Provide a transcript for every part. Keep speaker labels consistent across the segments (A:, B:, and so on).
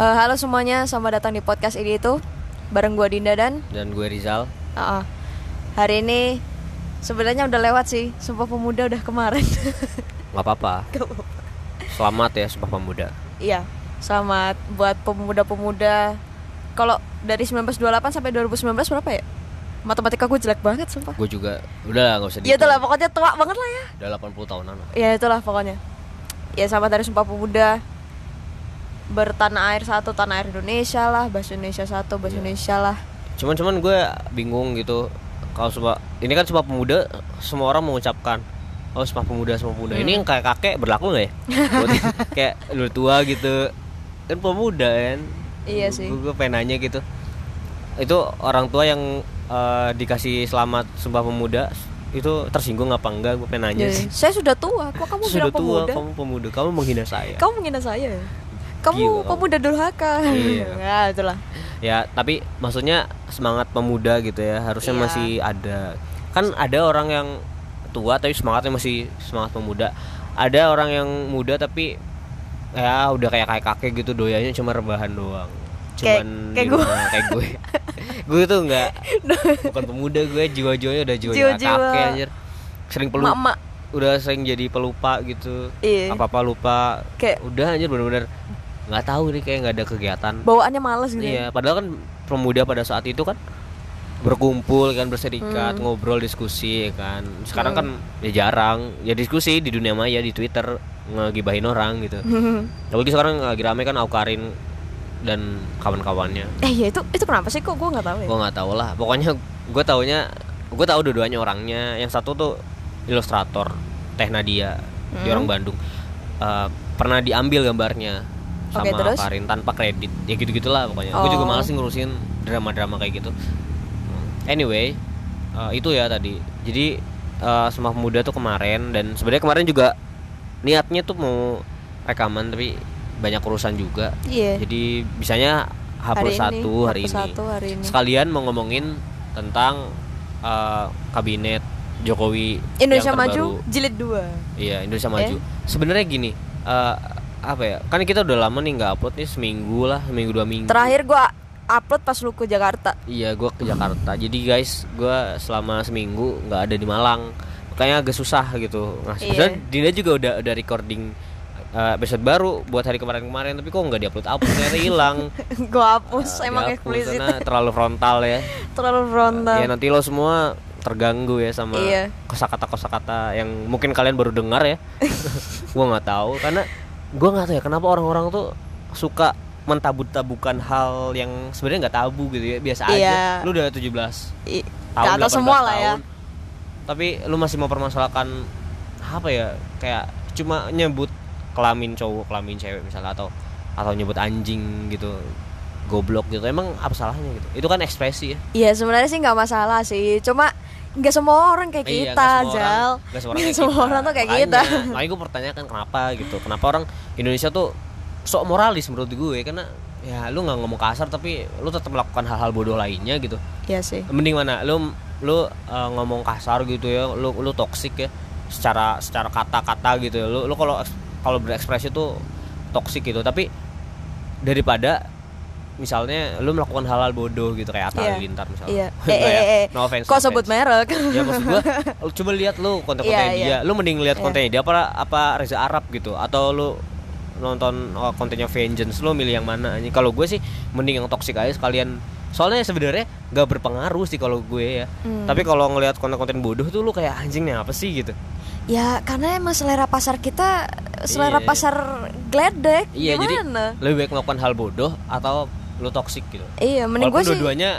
A: Eh, halo semuanya, selamat datang di podcast ini itu bareng gua Dinda dan
B: dan gue Rizal
A: uh-uh. hari ini sebenarnya udah lewat sih, Sumpah Pemuda udah kemarin.
B: nggak apa-apa
A: Gak apa-apa.
B: selamat ya Sumpah Pemuda
A: Iya, selamat buat pemuda-pemuda. Kalau dari 1928 sampai 2019 berapa ya? Matematika gue jelek banget sumpah.
B: gue juga udah lah nggak usah
A: Ya
B: dihitung.
A: itulah pokoknya tua banget lah ya.
B: udah 80 tahunan lah.
A: Ya itulah pokoknya. Ya selamat dari Sumpah Pemuda bertanah air satu tanah air Indonesia lah bahasa Indonesia satu bahasa
B: Iya.
A: Indonesia lah
B: cuman cuman gue bingung gitu kalau Sumpah ini kan Sumpah Pemuda semua orang mengucapkan oh Sumpah Pemuda Sumpah Pemuda ini yang kayak kakek berlaku nggak ya Buat- kayak lu tua gitu kan pemuda kan
A: Iya sih.
B: gue, gue pengen nanya gitu itu orang tua yang eh, dikasih selamat Sumpah Pemuda itu tersinggung apa enggak gue pengen nanya
A: Jadi,
B: sih
A: saya sudah tua kok kamu bilang
B: sudah tua
A: pemuda
B: kamu pemuda kamu menghina saya
A: Kamu menghina saya ya? Kamu
B: Gila kamu.
A: pemuda durhaka.
B: Iya.
A: ya, itulah.
B: ya tapi maksudnya semangat pemuda gitu ya harusnya
A: Iya.
B: masih ada kan ada orang yang tua tapi semangatnya masih semangat pemuda ada orang yang muda tapi ya udah kayak kayak kakek gitu doyanya cuma rebahan doang
A: Kayak-
B: cuman
A: kayak
B: di
A: gue.
B: rumah, kayak gue gue tuh nggak bukan pemuda gue jiwa-jiwanya udah jiwa,
A: Jiwa-jiwa.
B: kakek anjir sering pelupa
A: Mak-mak.
B: udah sering jadi pelupa gitu
A: Iya.
B: apa apa lupa
A: Kayak-
B: udah anjir bener-bener nggak tahu nih kayak nggak ada kegiatan
A: Bawaannya males gitu.
B: Iya, padahal kan pemuda pada saat itu kan berkumpul kan berserikat, ngobrol, diskusi ya kan. Sekarang kan ya jarang ya diskusi di dunia maya di Twitter ngegibahin orang gitu.
A: Hmm.
B: Apalagi sekarang lagi rame kan Aukarin dan kawan-kawannya.
A: Eh ya itu itu kenapa sih kok gue nggak tahu ya?
B: Gua nggak tahu lah. Pokoknya gue taunya gue tahu dua-duanya orangnya. Yang satu tuh ilustrator Teh Nadia,
A: Hmm.
B: dia orang Bandung. Eh, pernah diambil gambarnya sama
A: Oke, terus?
B: Karin tanpa kredit. Ya gitu-gitulah pokoknya. Gue juga
A: Oh.
B: malas ngurusin drama-drama kayak gitu. Anyway, eh, itu ya tadi. Jadi eh Sumpah Pemuda tuh kemarin dan sebenarnya kemarin juga niatnya tuh mau rekaman tapi banyak urusan juga.
A: Iya.
B: Jadi bisanya hapus
A: Hari ini,
B: satu hari
A: hapus
B: ini.
A: satu hari ini.
B: Sekalian mau ngomongin tentang eh, kabinet Jokowi
A: Indonesia
B: yang
A: Maju
B: terbaru.
A: jilid 2.
B: Iya, Indonesia Maju. Sebenarnya gini, eh, apa ya? Kan kita udah lama nih nggak upload nih seminggu lah, seminggu dua minggu.
A: Terakhir gue upload pas lu ke Jakarta.
B: Iya, gua ke Jakarta. Jadi guys, gua selama seminggu nggak ada di Malang. Makanya agak susah gitu.
A: Iya.
B: Nah, sebenarnya Dinda juga udah udah recording eh, episode baru buat hari kemarin-kemarin, tapi kok nggak diupload upload ternyata hilang.
A: gue hapus
B: Ah,
A: emang
B: dihapus
A: eksplisit
B: karena terlalu frontal ya.
A: terlalu frontal.
B: Ya nanti lo semua terganggu ya sama
A: Nah. Iya.
B: kosakata kosakata yang mungkin kalian baru dengar ya. gua nggak tahu karena gua nggak tahu ya kenapa orang-orang tuh suka mentabut-tabukan hal yang sebenarnya nggak tabu gitu ya biasa
A: Iya.
B: aja. Lu udah 17
A: I- ke
B: tahun
A: atas
B: 18
A: semua lah ya.
B: tahun. tapi lu masih mempermasalahkan apa ya kayak cuma nyebut kelamin cowok kelamin cewek misalnya atau atau nyebut anjing gitu goblok gitu emang apa salahnya gitu itu kan ekspresi ya
A: Iya sebenarnya sih nggak masalah sih. Cuma nggak semua orang kayak
B: Iya,
A: kita,
B: nggak semua orang-
A: Zal.
B: nggak semua
A: Nggak
B: orang, kayak
A: semua
B: kita.
A: orang tuh kayak
B: Makanya-
A: kita.
B: makanya gue pertanyakan kenapa gitu kenapa orang Indonesia tuh sok moralis menurut gue karena ya lu nggak ngomong kasar tapi lu tetap melakukan hal-hal bodoh lainnya gitu
A: Iya sih.
B: mending mana lu lu uh, ngomong kasar gitu ya lu lu toksik ya secara secara kata-kata gitu ya. lu lu kalau eks- kalau berekspresi tuh toksik gitu tapi daripada misalnya lu melakukan hal-hal bodoh gitu kayak Atta
A: Iya.
B: Halilintar misalnya
A: Iya.
B: Enggak
A: Eh, eh,
B: ya?
A: eh, eh.
B: no offense
A: Kok
B: no
A: sebut
B: offense.
A: merek?
B: ya maksud gua lu coba lihat lu konten-kontennya
A: Iya, iya.
B: dia lu mending lihat
A: Iya.
B: kontennya dia apa apa Reza Arab gitu atau lu nonton oh, kontennya Vengeance lu milih yang mana Ini kalau gue sih mending yang toxic aja sekalian soalnya sebenarnya gak berpengaruh sih kalau gue ya
A: Hmm.
B: tapi kalau ngelihat konten-konten bodoh tuh lu kayak anjingnya apa sih gitu
A: Ya karena emang selera pasar kita selera
B: Iya.
A: pasar gledek
B: iya
A: gimana?
B: jadi lebih baik melakukan hal bodoh atau lu toxic gitu
A: iya mending gue
B: Walaupun
A: sih
B: dua-duanya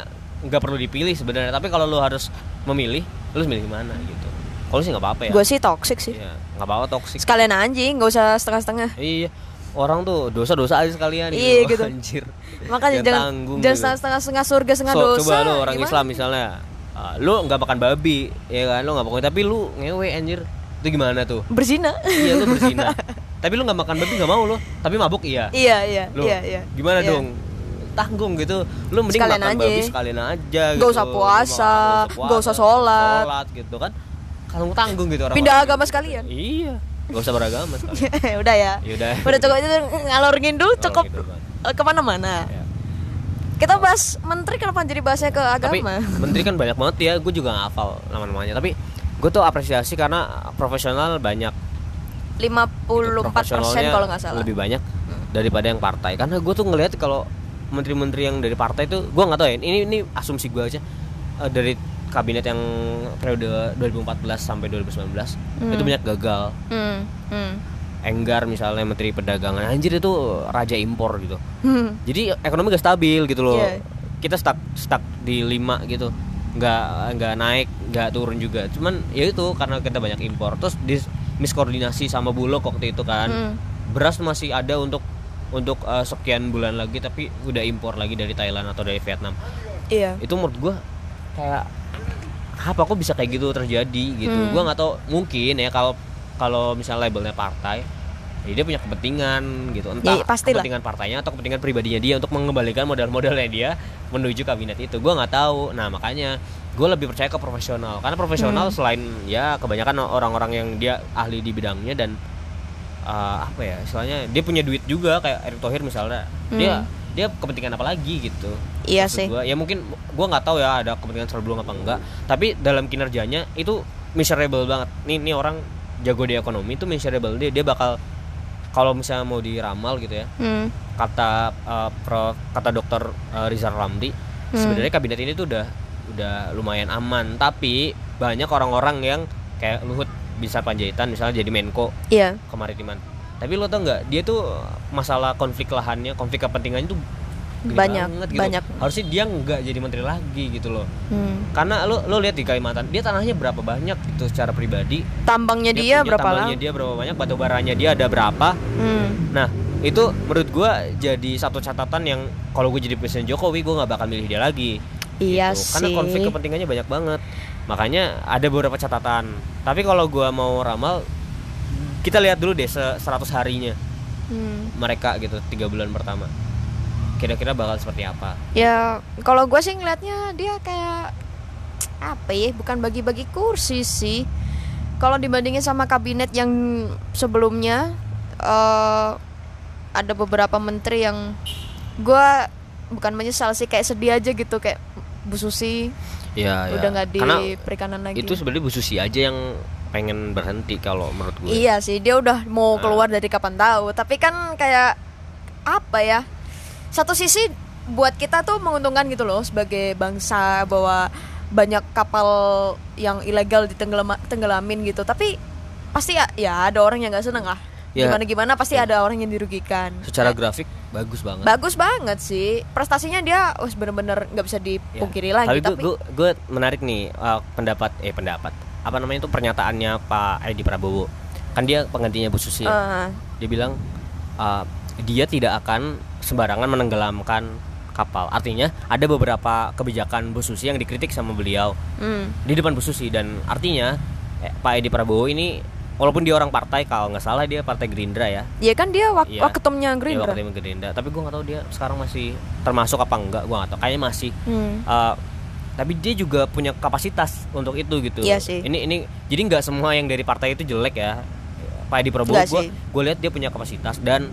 B: nggak perlu dipilih sebenarnya tapi kalau lu harus memilih lu harus milih mana gitu kalau sih nggak apa-apa ya
A: gue sih toxic sih.
B: Iya, nggak apa-apa toxic
A: Sekalian anjing nggak usah setengah-setengah.
B: Iya, orang tuh dosa-dosa aja sekalian
A: Iya, gitu.
B: Anjir.
A: Makanya jangan
B: tanggung
A: jangan
B: gitu.
A: setengah-setengah setengah surga setengah
B: So,
A: dosa.
B: coba lu orang
A: gimana?
B: Islam misalnya, uh, lu nggak makan babi, ya kan? Lu nggak makan tapi lu ngewe anjir. Itu gimana tuh?
A: berzina.
B: iya, lu berzina. tapi lu nggak makan babi nggak mau lu, tapi mabuk iya.
A: iya iya
B: Lu
A: iya iya.
B: gimana
A: Iya.
B: dong? Tanggung gitu. Lu mending
A: Sekalian
B: makan
A: aja.
B: babi sekalian aja
A: Nggak
B: gitu.
A: usah puasa,
B: Lu
A: nggak usah sholat.
B: sholat gitu kan. Kalau tanggung gitu orang.
A: Pindah agama sekalian.
B: Iya. Gak usah beragama sekali.
A: udah ya.
B: Yaudah.
A: Udah cukup itu ngalor ngidul cukup.
B: Orang gitu, Bang.
A: eh, kemana-mana.
B: Ya.
A: Kita bahas menteri kenapa jadi bahasnya ke
B: tapi
A: agama?
B: menteri kan banyak banget ya gue juga nggak hafal nama-namanya tapi gue tuh apresiasi karena profesional banyak gitu.
A: 54%
B: Profesionalnya
A: kalau nggak salah. Hmm.
B: lebih banyak daripada yang partai karena gue tuh ngelihat kalau menteri-menteri yang dari partai itu gue nggak tahu ya ini ini asumsi gue aja Eh, dari kabinet yang periode 2014 sampai 2019 itu banyak gagal
A: Hmm, hmm.
B: Enggar misalnya menteri perdagangan anjir itu raja impor gitu
A: Hmm.
B: jadi ekonomi gak stabil gitu loh
A: Iya.
B: kita stuck stuck di lima gitu nggak nggak naik nggak turun juga cuman ya itu karena kita banyak impor terus dis- miskoordinasi sama Bulog waktu itu kan
A: Hmm.
B: beras masih ada untuk untuk eh, sekian bulan lagi tapi udah impor lagi dari Thailand atau dari Vietnam
A: Iya.
B: itu menurut gua kayak apa kok bisa kayak gitu terjadi gitu
A: Hmm.
B: gua nggak tahu mungkin ya kalau kalau misalnya labelnya partai ya dia punya kepentingan gitu entah
A: Ya, pastilah.
B: kepentingan partainya atau kepentingan pribadinya dia untuk mengembalikan modal-modalnya dia menuju kabinet itu gua nggak tahu nah makanya gue lebih percaya ke profesional karena
A: Hmm.
B: profesional selain ya kebanyakan orang-orang yang dia ahli di bidangnya dan eh, apa ya istilahnya dia punya duit juga kayak Erick Thohir misalnya dia
A: Hmm.
B: dia kepentingan apa lagi gitu
A: Iya
B: Maksud
A: sih.
B: gua, ya mungkin gua nggak tahu ya ada kepentingan sebelum apa enggak tapi dalam kinerjanya itu miserable banget nih nih orang jago di ekonomi itu miserable dia dia bakal kalau misalnya mau diramal gitu ya
A: Hmm.
B: kata eh, pro, kata dokter eh, Rizal Ramli
A: Hmm.
B: sebenarnya kabinet ini tuh udah udah lumayan aman tapi banyak orang-orang yang kayak Luhut bisa Panjaitan misalnya jadi Menko
A: Iya.
B: kemaritiman tapi lo tau nggak dia tuh masalah konflik lahannya konflik kepentingannya tuh gede
A: Banyak,
B: banget gitu
A: banyak.
B: harusnya dia nggak jadi menteri lagi gitu loh
A: Hmm.
B: karena lo lo lihat di Kalimantan dia tanahnya berapa banyak gitu secara pribadi
A: Tambangnya Ya, dia,
B: punya
A: berapa
B: tambangnya
A: lama?
B: dia berapa banyak batu baranya dia ada berapa
A: Hmm.
B: nah itu menurut gua jadi satu catatan yang kalau gue jadi presiden Jokowi gua nggak bakal milih dia lagi
A: Iya
B: gitu.
A: sih.
B: Karena konflik kepentingannya banyak banget. Makanya ada beberapa catatan. Tapi kalau gua mau ramal kita lihat dulu deh se- 100 harinya
A: Hmm.
B: mereka gitu tiga bulan pertama. Kira-kira bakal seperti apa?
A: Ya, kalau gue sih ngelihatnya dia kayak apa ya? Bukan bagi-bagi kursi sih. Kalau dibandingin sama kabinet yang sebelumnya, eh ada beberapa menteri yang gue bukan menyesal sih, kayak sedih aja gitu, kayak Bu Susi
B: Ya,
A: udah nggak di
B: Karena
A: perikanan lagi.
B: itu sebenarnya Bu Susi aja yang pengen berhenti kalau menurut gue.
A: Iya sih, dia udah mau
B: Nah.
A: keluar dari kapan tahu. Tapi kan kayak apa ya? Satu sisi buat kita tuh menguntungkan gitu loh sebagai bangsa bahwa banyak kapal yang ilegal ditenggelam tenggelamin gitu. Tapi pasti ya, ya ada orang yang nggak seneng lah.
B: Ya.
A: Gimana gimana pasti ada orang yang dirugikan.
B: Secara grafik bagus banget.
A: Bagus banget sih prestasinya dia, wah bener-bener nggak bisa
B: Ya.
A: dipungkiri lagi.
B: Tapi, gue menarik nih eh, pendapat eh pendapat apa namanya itu pernyataannya Pak Edi Prabowo. Kan dia penggantinya Bu Susi. ya.
A: eh,
B: dia bilang uh, dia tidak akan sembarangan menenggelamkan kapal artinya ada beberapa kebijakan Bu Susi yang dikritik sama beliau
A: hmm,
B: di depan Bu Susi dan artinya eh, Pak Edi Prabowo ini walaupun dia orang partai kalau nggak salah dia partai Gerindra ya
A: ya kan dia wak-
B: Iya.
A: waketumnya
B: Dia
A: Gerindra.
B: waktu itu Gerindra tapi gue nggak tahu dia sekarang masih termasuk apa enggak gue nggak tahu kayaknya masih
A: Hmm.
B: Uh, tapi dia juga punya kapasitas untuk itu gitu.
A: Iya sih.
B: Ini ini jadi nggak semua yang dari partai itu jelek ya. Pak Edi Prabowo
A: Nggak
B: gue
A: sih.
B: gue lihat dia punya kapasitas dan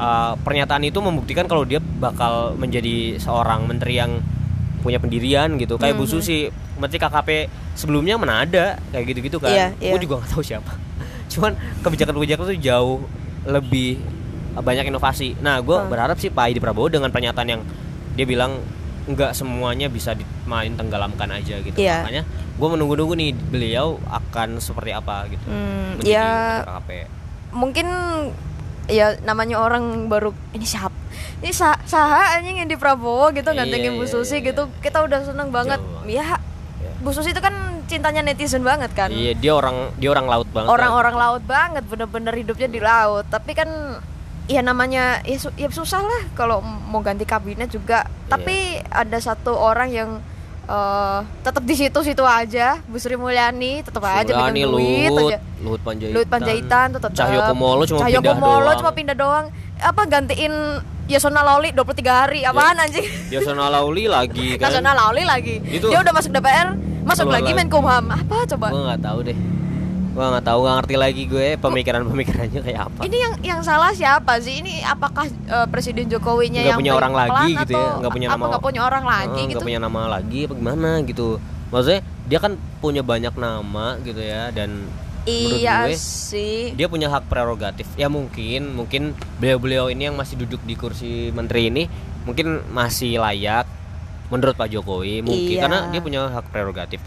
B: uh, pernyataan itu membuktikan kalau dia bakal menjadi seorang menteri yang punya pendirian gitu. Kayak
A: Mm-hmm.
B: Bu Susi menteri KKP sebelumnya mana ada kayak gitu-gitu kan.
A: Iya, iya.
B: Gue juga nggak tahu siapa. Cuman kebijakan-kebijakan itu jauh lebih uh, banyak inovasi.
A: Ah.
B: Nah, gue berharap sih Pak Edi Prabowo dengan pernyataan yang dia bilang nggak semuanya bisa dimain tenggelamkan aja gitu.
A: Iya.
B: Makanya gue menunggu-nunggu nih beliau akan seperti apa gitu.
A: Hmm,
B: menjadi
A: ya.
B: KKP.
A: mungkin ya namanya orang baru ini siapa ini sa saha anjing yang di Prabowo gitu
B: Iya,
A: gantengin Bu
B: iya,
A: Susi
B: iya.
A: gitu kita udah seneng banget
B: Jauh
A: ya Bu Susi itu kan cintanya netizen banget kan
B: Iya, dia orang dia orang laut banget.
A: orang-orang laut banget bener-bener hidupnya di laut tapi kan ya namanya ya, su- ya susah lah kalau m- mau ganti kabinet juga
B: Iya.
A: tapi ada satu orang yang eh, tetap di situ-situ aja Bu Sri Mulyani tetap aja
B: Sudah nih
A: megang duit
B: Luhut,
A: aja
B: Luhut Panjaitan.
A: Luhut Panjaitan tuh tetap
B: Cahyokumolo cuma
A: Cahyo
B: pindah
A: Kumolo
B: doang.
A: cuma pindah doang Apa gantiin Yasona Lawli 23 hari Apaan anjing
B: Yasona Lauli lagi Ya. kan.
A: Yasona Lawli lagi
B: Itu-
A: Dia udah masuk DPR Masuk
B: Keluar
A: lagi
B: lagi. Oh.
A: Menkumham Apa coba
B: Gue nggak tahu deh. Gua nggak tahu nggak ngerti lagi gue pemikiran pemikirannya kayak apa.
A: Ini yang yang salah siapa sih? Ini apakah eh, Presiden Jokowinya
B: Nggak
A: yang
B: punya orang
A: pelan
B: lagi gitu ya,
A: atau
B: nggak punya
A: apa
B: nama-
A: nggak punya orang lagi
B: Heeh, nggak
A: gitu?
B: punya nama lagi apa gimana gitu. Maksudnya dia kan punya banyak nama gitu ya dan menurut
A: Iya
B: gue
A: sih.
B: dia punya hak prerogatif. Ya mungkin mungkin beliau-beliau ini yang masih duduk di kursi menteri ini mungkin masih layak menurut Pak Jokowi mungkin
A: Iya.
B: karena dia punya hak prerogatif.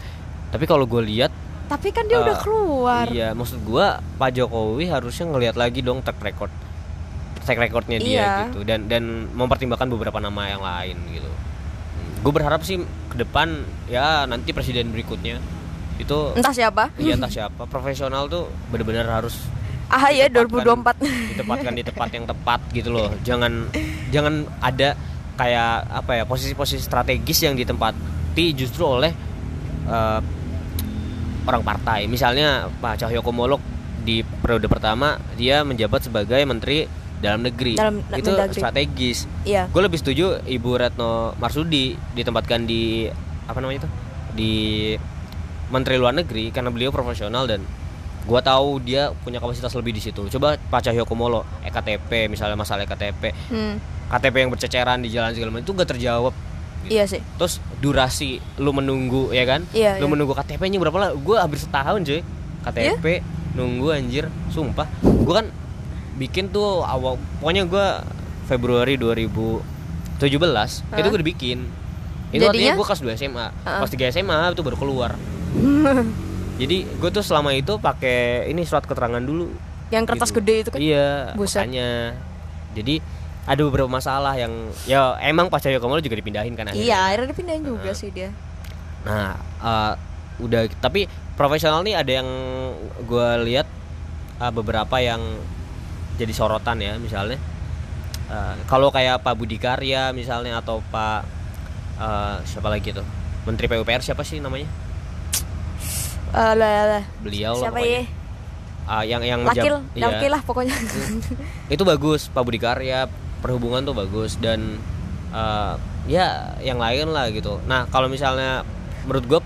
B: Tapi kalau gue lihat
A: Tapi kan dia udah
B: Eh,
A: keluar.
B: Iya, maksud gua Pak Jokowi harusnya ngelihat lagi dong track record track recordnya dia
A: Iya.
B: gitu dan dan mempertimbangkan beberapa nama yang lain gitu. Gue berharap sih ke depan ya nanti presiden berikutnya itu
A: Entah siapa.
B: ya entah siapa profesional tuh bener-bener harus
A: Ah ya
B: ditempatkan-
A: 2024.
B: ditempatkan di tempat yang tepat gitu loh. Jangan jangan ada kayak apa ya posisi-posisi strategis yang ditempati justru oleh eh, orang partai. Misalnya Pak Cahyokumolo di periode pertama dia menjabat sebagai menteri dalam negeri.
A: Dalam-
B: Itu
A: Mendagri.
B: strategis.
A: Iya.
B: Gue lebih setuju Ibu Retno Marsudi ditempatkan di apa namanya itu di Menteri Luar Negeri karena beliau profesional dan gua tahu dia punya kapasitas lebih di situ. Coba Pak Cahyokumolo E EKTP misalnya masalah E EKTP,
A: Hmm,
B: KTP yang berceceran di jalan segala macam itu gak terjawab. gitu.
A: Iya sih.
B: Terus durasi lu menunggu ya kan?
A: Iya,
B: lu
A: iya.
B: menunggu KTP-nya berapa lama? Gue hampir setahun cuy. KTP nunggu anjir, sumpah. Gue kan bikin tuh awal pokoknya gue Februari 2017 itu
A: Hah?
B: gue dibikin. Itu artinya
A: Jadinya?
B: gue kelas 2 SMA.
A: Heeh.
B: Kelas 3 SMA itu baru keluar. Jadi gue tuh selama itu pakai ini surat keterangan dulu
A: Yang kertas
B: gitu.
A: gede itu kan.
B: Iya,
A: Buset.
B: makanya. Jadi ada beberapa masalah yang ya emang Pak Cahyo Kumolo juga dipindahin kan akhirnya.
A: Iya, akhirnya dipindahin juga
B: Ah.
A: sih dia.
B: Nah, eh, udah tapi profesional nih ada yang gua lihat eh, beberapa yang jadi sorotan ya misalnya. Eh, kalau kayak Pak Budi Karya misalnya atau Pak eh, siapa lagi tuh? Menteri PUPR siapa sih namanya?
A: Alah, alah.
B: Beliau lah
A: Eh, Siapa
B: pokoknya.
A: ya?
B: Ah, yang yang
A: Laki,
B: menjab- iya.
A: laki lah pokoknya.
B: itu bagus Pak Budi Karya perhubungan tuh bagus dan eh, ya yang lain lah gitu nah kalau misalnya menurut gue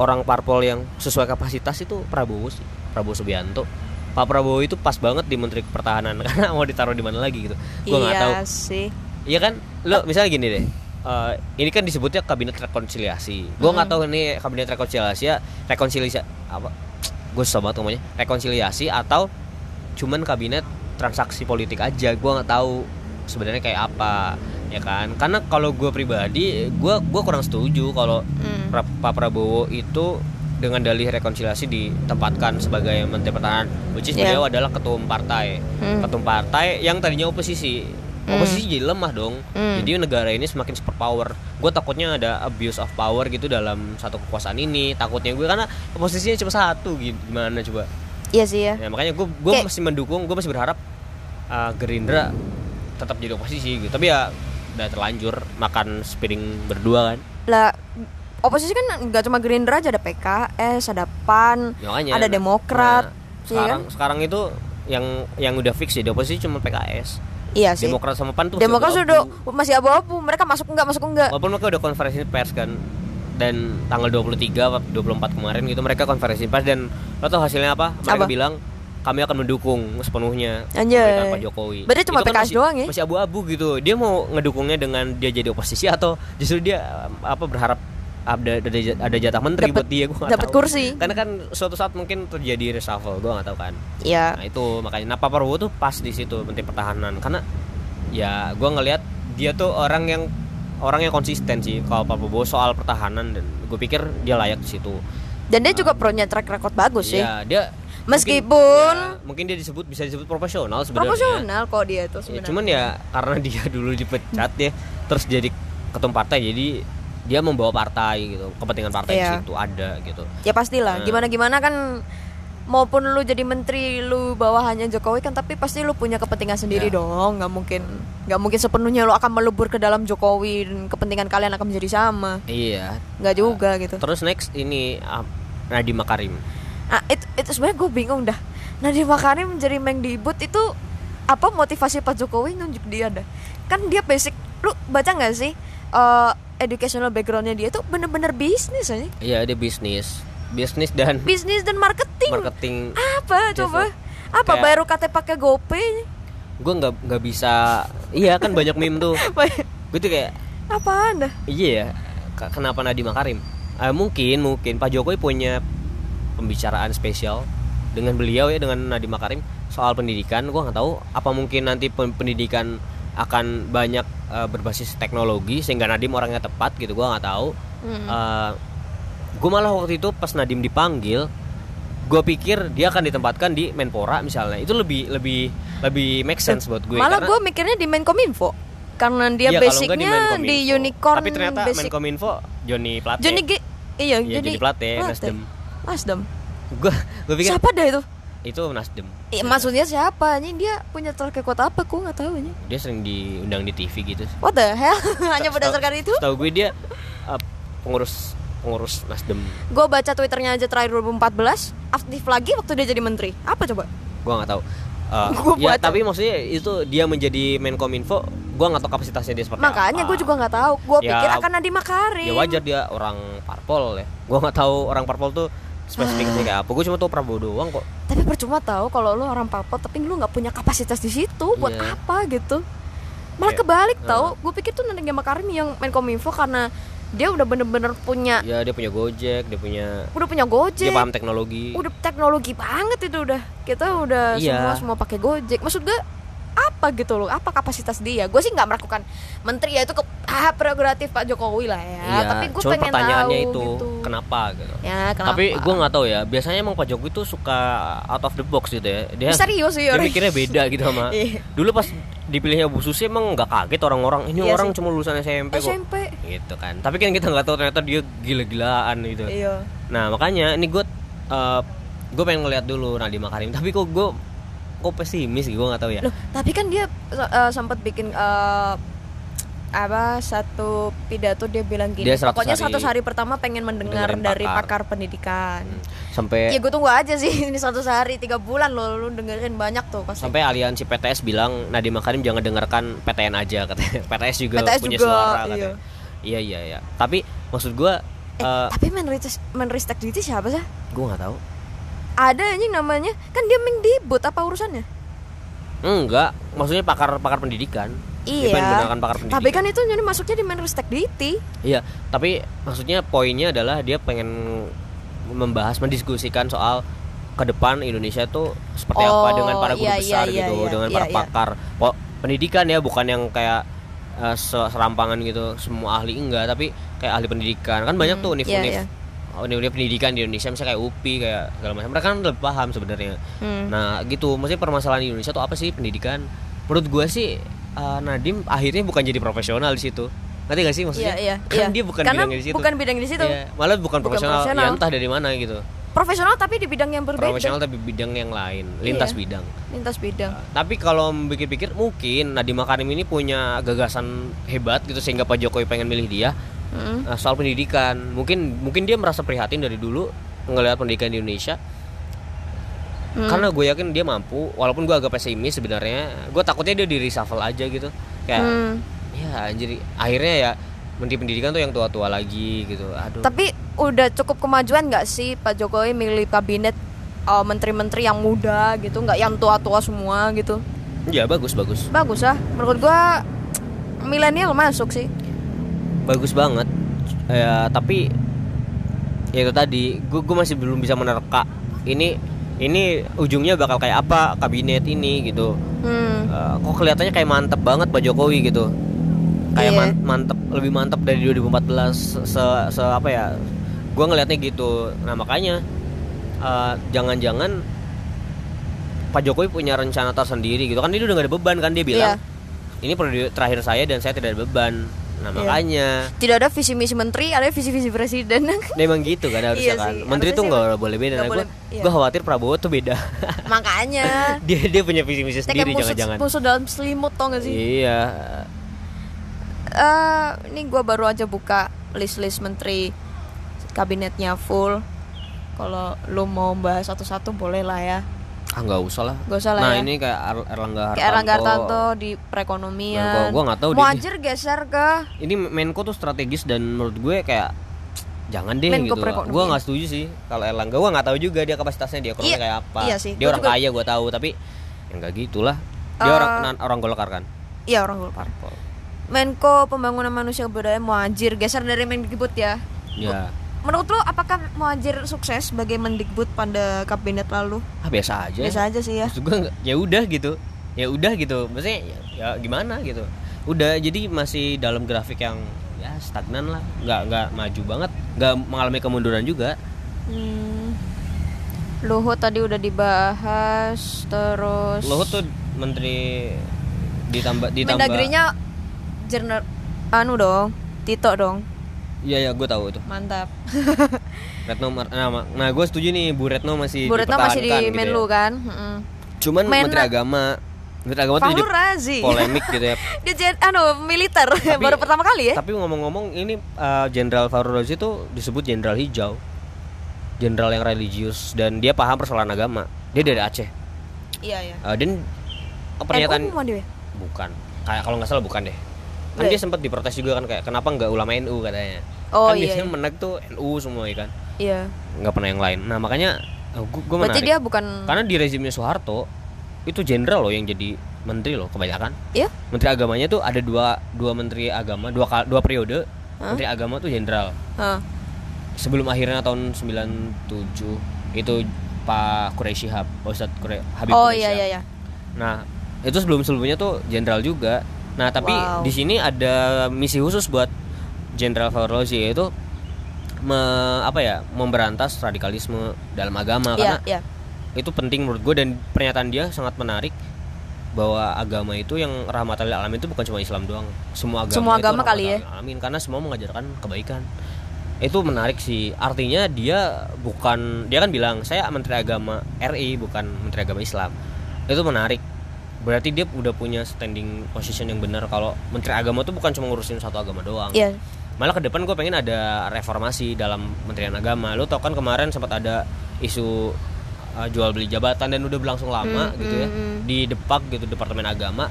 B: orang parpol yang sesuai kapasitas itu Prabowo sih Prabowo Subianto Pak Prabowo itu pas banget di Menteri Pertahanan karena mau ditaruh di mana lagi gitu gue nggak tahu
A: iya sih.
B: Iya kan? Lo misalnya gini deh. Eh, ini kan disebutnya kabinet rekonsiliasi. Gua nggak tahu ini kabinet rekonsiliasi ya, rekonsiliasi apa? Gue susah banget ngomongnya. Rekonsiliasi atau cuman kabinet transaksi politik aja. Gua nggak tahu sebenarnya kayak apa, ya kan? Karena kalau gue pribadi, gua gua kurang setuju kalau
A: Hmm.
B: Pra- Pak Prabowo itu dengan dalih rekonsiliasi ditempatkan sebagai Menteri Pertahanan, which is
A: Yeah.
B: beliau adalah ketua umum partai.
A: Hmm.
B: Ketua umum partai yang tadinya oposisi,
A: Mm.
B: oposisi jadi lemah dong.
A: Hmm.
B: Jadi negara ini semakin superpower. Gue takutnya ada abuse of power gitu dalam satu kekuasaan ini. Takutnya gue karena oposisinya cuma satu, gi- gimana coba?
A: Iya sih ya.
B: Ya, makanya gue gue
A: Kayak-
B: masih mendukung, gue masih berharap uh, Gerindra tetap jadi oposisi gitu. Tapi ya udah terlanjur makan sepiring berdua kan.
A: Lah oposisi kan nggak cuma Gerindra aja ada PKS, ada PAN,
B: Makanya,
A: ada
B: nah,
A: Demokrat.
B: nah,
A: iya
B: sekarang
A: kan?
B: sekarang itu yang yang udah fix ya di oposisi cuma PKS
A: Iya sih.
B: Demokrat sama PAN tuh masih
A: Demokrat sudah
B: abu-abu.
A: masih abu-abu. Mereka masuk nggak masuk nggak?
B: walaupun mereka udah konferensi pers kan dan tanggal 23 apa 24 kemarin gitu mereka konferensi pers dan lo tau hasilnya apa mereka
A: Apa?
B: bilang kami akan mendukung sepenuhnya
A: Anjay.
B: pemerintahan Pak Jokowi.
A: Berarti cuma
B: Itu kan
A: PKS
B: masih-
A: doang ya?
B: Masih abu-abu gitu. Dia mau ngedukungnya dengan dia jadi oposisi atau justru dia um, apa berharap ada ada, ada jatah menteri
A: Dapet-
B: buat dia gua nggak
A: dapet
B: tahu.
A: kursi.
B: Karena kan suatu saat mungkin terjadi reshuffle, gua nggak tahu kan.
A: Iya.
B: Nah itu makanya Nah Pak Prabowo tuh pas di situ Menteri Pertahanan karena ya gua ngelihat dia tuh orang yang orang yang konsisten sih kalau Pak Prabowo soal pertahanan dan gue pikir dia layak di situ.
A: Dan dia
B: Nah.
A: juga punya track record bagus sih.
B: Ya dia
A: Meskipun-
B: mungkin, ya, mungkin dia disebut bisa disebut profesional sebenarnya.
A: Proporsional kok dia itu
B: Ya,
A: sebenarnya.
B: cuman ya karena dia dulu dipecat ya terus jadi ketum partai jadi dia membawa partai gitu kepentingan partai
A: Iya.
B: di situ ada gitu.
A: ya pastilah.
B: Nah.
A: Gimana gimana kan maupun lu jadi menteri lu bawahannya Jokowi kan tapi pasti lu punya kepentingan sendiri
B: Ya.
A: dong nggak mungkin nggak mungkin sepenuhnya lu akan melebur ke dalam Jokowi dan kepentingan kalian akan menjadi sama
B: Iya.
A: nggak juga gitu
B: Terus next ini ah, Nadiem Makarim.
A: Nah, itu, itu sebenarnya gue bingung dah. Nadiem Makarim menjadi mengdibut itu apa motivasi Pak Jokowi nunjuk dia dah? Kan dia basic, lu baca nggak sih eh educational backgroundnya dia tuh bener-bener bisnis aja.
B: Iya dia bisnis bisnis dan
A: bisnis dan marketing.
B: marketing
A: Apa
B: Just
A: coba?
B: like-
A: Apa
B: kayak-
A: bayar UKT pakai GoPay?
B: gue nggak nggak bisa iya kan banyak meme tuh gue tuh kayak
A: Apa Anda?
B: iya ya ke- kenapa Nadiem Makarim Eh, mungkin mungkin Pak Jokowi punya pembicaraan spesial dengan beliau ya dengan Nadiem Makarim soal pendidikan gue nggak tahu apa mungkin nanti pen- pendidikan akan banyak eh, berbasis teknologi sehingga Nadiem orangnya tepat gitu gue nggak tahu
A: Hmm.
B: gue malah waktu itu pas Nadiem dipanggil gue pikir dia akan ditempatkan di Menpora misalnya itu lebih lebih lebih make sense buat gue
A: Malah
B: karena-
A: gue mikirnya di Menkominfo karena dia
B: Iya, kalau enggak
A: basicnya di,
B: Menkominfo.
A: unicorn
B: tapi ternyata
A: basic.
B: Menkominfo Joni Plate
A: Johnny G iya,
B: Iya, Johnny Plate, Nasdem. kan-
A: Nasdem.
B: gue gue pikir
A: Siapa dah itu?
B: itu Nasdem
A: Eh, maksudnya siapa? Ini dia punya track record apa? Gue nggak tahu ini.
B: dia sering diundang di TV gitu
A: What the hell? Hanya berdasarkan itu?
B: tahu gue dia eh, pengurus pengurus Nasdem
A: Gue baca twitternya aja terakhir 2014 aktif lagi waktu dia jadi menteri. Apa coba?
B: gue nggak tahu Eh,
A: Gua
B: ya
A: baca.
B: tapi maksudnya itu dia menjadi Menkominfo gue nggak tahu kapasitasnya dia seperti
A: Makanya
B: apa.
A: gue juga nggak tahu. Gue
B: ah. Ya,
A: pikir akan Nadiem Makarim.
B: ya wajar dia orang parpol ya gue nggak tahu orang parpol tuh spesifiknya kayak apa gue cuma tahu Prabowo doang kok
A: Tapi percuma tahu kalau lu orang papua tapi lu nggak punya kapasitas di situ buat
B: Iya.
A: apa gitu. Malah
B: Kayak, eh.
A: kebalik tahu. Gue pikir tuh Nadiem Makarim yang Menkominfo karena dia udah bener-bener punya
B: ya dia punya Gojek dia punya
A: udah punya Ah. Gojek.
B: dia paham teknologi
A: udah teknologi banget itu udah kita udah
B: Iya.
A: semua semua pakai gojek maksud gue apa gitu loh apa kapasitas dia gue sih nggak meragukan menteri ya itu ke ah, prerogatif pak jokowi lah ya
B: Iya,
A: tapi gue
B: cuma
A: pengen
B: pertanyaannya
A: tahu
B: itu
A: gitu.
B: kenapa gitu
A: ya kenapa
B: tapi gue nggak tahu ya biasanya emang Pak Jokowi tuh suka out of the box gitu ya dia
A: Misterius sih,
B: dia
A: orang.
B: mikirnya beda gitu sama
A: Iya.
B: dulu pas dipilihnya Bu Susi emang nggak kaget orang-orang ini
A: Iya
B: orang
A: sih.
B: cuma lulusan SMP kok
A: SMP
B: gitu kan tapi kan kita nggak tahu ternyata dia gila-gilaan gitu
A: iya
B: Nah makanya ini gue gue pengen ngeliat dulu Nadiem Makarim tapi kok gue kok pesimis gue nggak tahu ya.
A: loh tapi kan dia eh, sempat bikin eh, apa satu pidato dia bilang gini
B: Dia 100
A: pokoknya
B: hari-
A: satu hari pertama pengen mendengar
B: Dengerin
A: dari
B: pakar.
A: pakar pendidikan
B: Hmm, Sampai
A: ya gue tunggu aja sih ini satu hari tiga bulan loh lu dengerin banyak tuh pasti
B: sampai aliansi PTS bilang Nadiem Makarim jangan dengarkan PTN aja katanya. PTS juga
A: PTS
B: punya
A: juga,
B: suara
A: iya.
B: katanya. Iya iya iya. Tapi maksud gue
A: Eh, tapi menristek menristek diri siapa sih?
B: gue nggak tahu.
A: Ada anjing namanya. Kan dia mendibut apa urusannya?
B: Enggak, maksudnya pakar pakar pendidikan. Dia pengen mendengarkan pakar
A: Iya.
B: pendidikan.
A: Tapi kan itu jadi masuknya di Menristek Dikti.
B: Iya, tapi maksudnya poinnya adalah dia pengen membahas mendiskusikan soal ke depan Indonesia tuh seperti apa
A: Oh,
B: dengan para guru
A: iya,
B: besar
A: iya,
B: gitu,
A: iya,
B: dengan
A: iya,
B: para
A: iya.
B: pakar Po- pendidikan ya, bukan yang kayak eh, se- serampangan gitu, semua ahli enggak, tapi kayak ahli pendidikan. Kan banyak
A: Hmm,
B: tuh univ
A: iya,
B: univ
A: iya.
B: univ pendidikan di Indonesia misalnya kayak UPI kayak segala macam. Mereka kan lebih paham sebenarnya.
A: Hmm.
B: Nah, gitu. Maksudnya permasalahan di Indonesia tuh apa sih pendidikan? Menurut gua sih eh, Nadim akhirnya bukan jadi profesional di situ. Ngerti gak sih maksudnya?
A: Iya, iya,
B: Kan
A: iya.
B: dia bukan
A: Karena
B: bidangnya di situ.
A: bukan bidangnya di situ.
B: Iya, malah bukan, profesional,
A: profesional.
B: ya entah dari mana gitu.
A: Profesional tapi di bidang yang berbeda.
B: Profesional tapi bidang yang lain, lintas
A: Iya.
B: bidang.
A: Lintas bidang.
B: Tapi kalau pikir-pikir mungkin Nadiem Makarim ini punya gagasan hebat gitu sehingga Pak Jokowi pengen milih dia.
A: Hmm.
B: Nah, soal pendidikan, mungkin mungkin dia merasa prihatin dari dulu ngelihat pendidikan di Indonesia.
A: Hmm.
B: Karena gue yakin dia mampu, walaupun gue agak pesimis sebenarnya. Gue takutnya dia di reshuffle aja gitu. Kayak
A: Hmm.
B: ya anjir akhirnya ya menteri pendidikan tuh yang tua-tua lagi gitu. Aduh.
A: Tapi udah cukup kemajuan nggak sih Pak Jokowi milih kabinet eh, menteri-menteri yang muda gitu, nggak yang tua-tua semua gitu.
B: Ya bagus bagus.
A: Bagus lah. Menurut gua milenial masuk sih.
B: bagus banget ya tapi ya itu tadi gue masih belum bisa menerka ini ini ujungnya bakal kayak apa kabinet ini gitu
A: Hmm.
B: Eh, kok kelihatannya kayak mantep banget Pak Jokowi gitu kayak
A: Iya.
B: man- mantep lebih mantep dari 2014 se, se- se- apa ya gue ngelihatnya gitu nah makanya eh, jangan-jangan Pak Jokowi punya rencana tersendiri gitu kan dia udah gak ada beban kan dia bilang
A: Iya.
B: ini periode terakhir saya dan saya tidak ada beban nah
A: Iya.
B: makanya
A: Tidak ada visi misi menteri, ada visi visi presiden.
B: memang gitu kan harusnya
A: Iya
B: kan
A: sih,
B: menteri
A: harusnya
B: tuh
A: sih
B: nggak boleh beda
A: nggak
B: nah,
A: boleh,
B: gue
A: iya.
B: gue khawatir Prabowo tuh beda
A: Makanya
B: dia dia punya visi misi
A: Kita kayak
B: sendiri
A: musuh,
B: jangan-jangan
A: musuh dalam selimut tau gak sih?
B: iya
A: Eh, ini gue baru aja buka list-list menteri kabinetnya full. Kalau lu mau bahas satu-satu boleh lah ya.
B: ah nggak usah lah
A: Gak usah lah
B: nah
A: ya.
B: ini kayak Ar- Erlangga Hartanto,
A: Kayak Erlangga Hartanto di perekonomian.
B: Menko, gua nggak tahu
A: mau
B: dia-
A: anjir geser ke
B: ini Menko tuh strategis dan menurut gue kayak jangan deh
A: Menko
B: gitu
A: Perekonomian.
B: gue nggak setuju sih kalau Erlangga gue nggak tahu juga dia kapasitasnya dia ekonomi
A: Iya,
B: kayak apa
A: iya sih,
B: dia
A: gua
B: orang
A: juga- Eh.
B: kaya gue tahu tapi ya nggak gitulah dia orang nan- orang golkar kan
A: Iya orang Golkar. Menko Pembangunan Manusia Kebudayaan Muhajir geser dari Mendikbud ya.
B: ya
A: Menurut lo apakah Muhajir sukses sebagai Mendikbud pada kabinet lalu?
B: ah, biasa aja
A: Biasa aja sih ya.
B: Maksud gua nggak- ya udah gitu ya udah gitu maksudnya ya, ya gimana gitu udah jadi masih dalam grafik yang ya stagnan lah nggak nggak maju banget nggak mengalami kemunduran juga
A: Hmm. Luhut tadi udah dibahas terus
B: Luhut tuh menteri ditambah ditambah
A: Mendagrinya jener anu dong, Tito dong.
B: Iya ya gue tahu itu
A: Mantap.
B: Retno Mar- nah, ma- nah gue setuju nih Bu Retno masih
A: Bu Retno masih di
B: dipertahankan gitu
A: Menlu
B: ya.
A: kan? Heeh.
B: cuman
A: Men-
B: menteri agama menteri agama tuh jadi
A: Fahru Razi.
B: polemik gitu ya
A: Dia jadi anu militer
B: Tapi-
A: baru pertama kali ya.
B: Tapi ngomong-ngomong ini uh, Jenderal Farul Razi itu disebut Jenderal Hijau. Jenderal yang religius dan dia paham persoalan agama. Dia dari Aceh.
A: Iya ya.
B: Uh, dan
A: Eh,
B: pernyataan
A: NU mau dia?
B: bukan. Kayak kalau nggak salah bukan deh. Kan
A: Nggak
B: dia sempat diprotes juga kan kayak kenapa nggak ulama NU katanya.
A: Iya. Oh,
B: kan
A: iya,
B: biasanya
A: iya.
B: menek tuh NU semua ya kan.
A: Iya.
B: Nggak pernah yang lain. Nah, makanya gue gue
A: Berarti
B: menarik.
A: dia bukan
B: Karena di rezimnya Soeharto itu jenderal loh yang jadi menteri loh kebanyakan.
A: Iya.
B: Menteri agamanya tuh ada dua dua menteri agama, dua kal- dua periode. Menteri agama tuh jenderal.
A: Hah.
B: sebelum akhirnya tahun 97 itu Pak Quraish Shihab, Pak Ustadz Qure- Habib
A: Oh
B: Quraish
A: iya
B: Shihab.
A: iya iya.
B: Nah, itu sebelum-sebelumnya tuh jenderal juga. Nah, tapi
A: Wow.
B: di sini ada misi khusus buat Jenderal Farrozi yaitu me- apa ya? memberantas radikalisme dalam agama
A: Iya
B: karena
A: iya.
B: itu penting menurut gue dan pernyataan dia sangat menarik bahwa agama itu yang rahmatan lil alamin itu bukan cuma Islam doang semua agama
A: Semua
B: itu
A: agama
B: rahmatan
A: kali ya.
B: lil alamin karena semua mengajarkan kebaikan itu menarik sih artinya dia bukan dia kan bilang saya menteri agama RI bukan menteri agama Islam itu menarik berarti dia udah punya standing position yang benar kalau menteri agama tuh bukan cuma ngurusin satu agama doang
A: Iya.
B: malah ke depan gue pengen ada reformasi dalam Kementerian Agama lo tau kan kemarin sempat ada isu uh, jual beli jabatan dan udah berlangsung lama
A: Hmm,
B: gitu ya di depak gitu Departemen Agama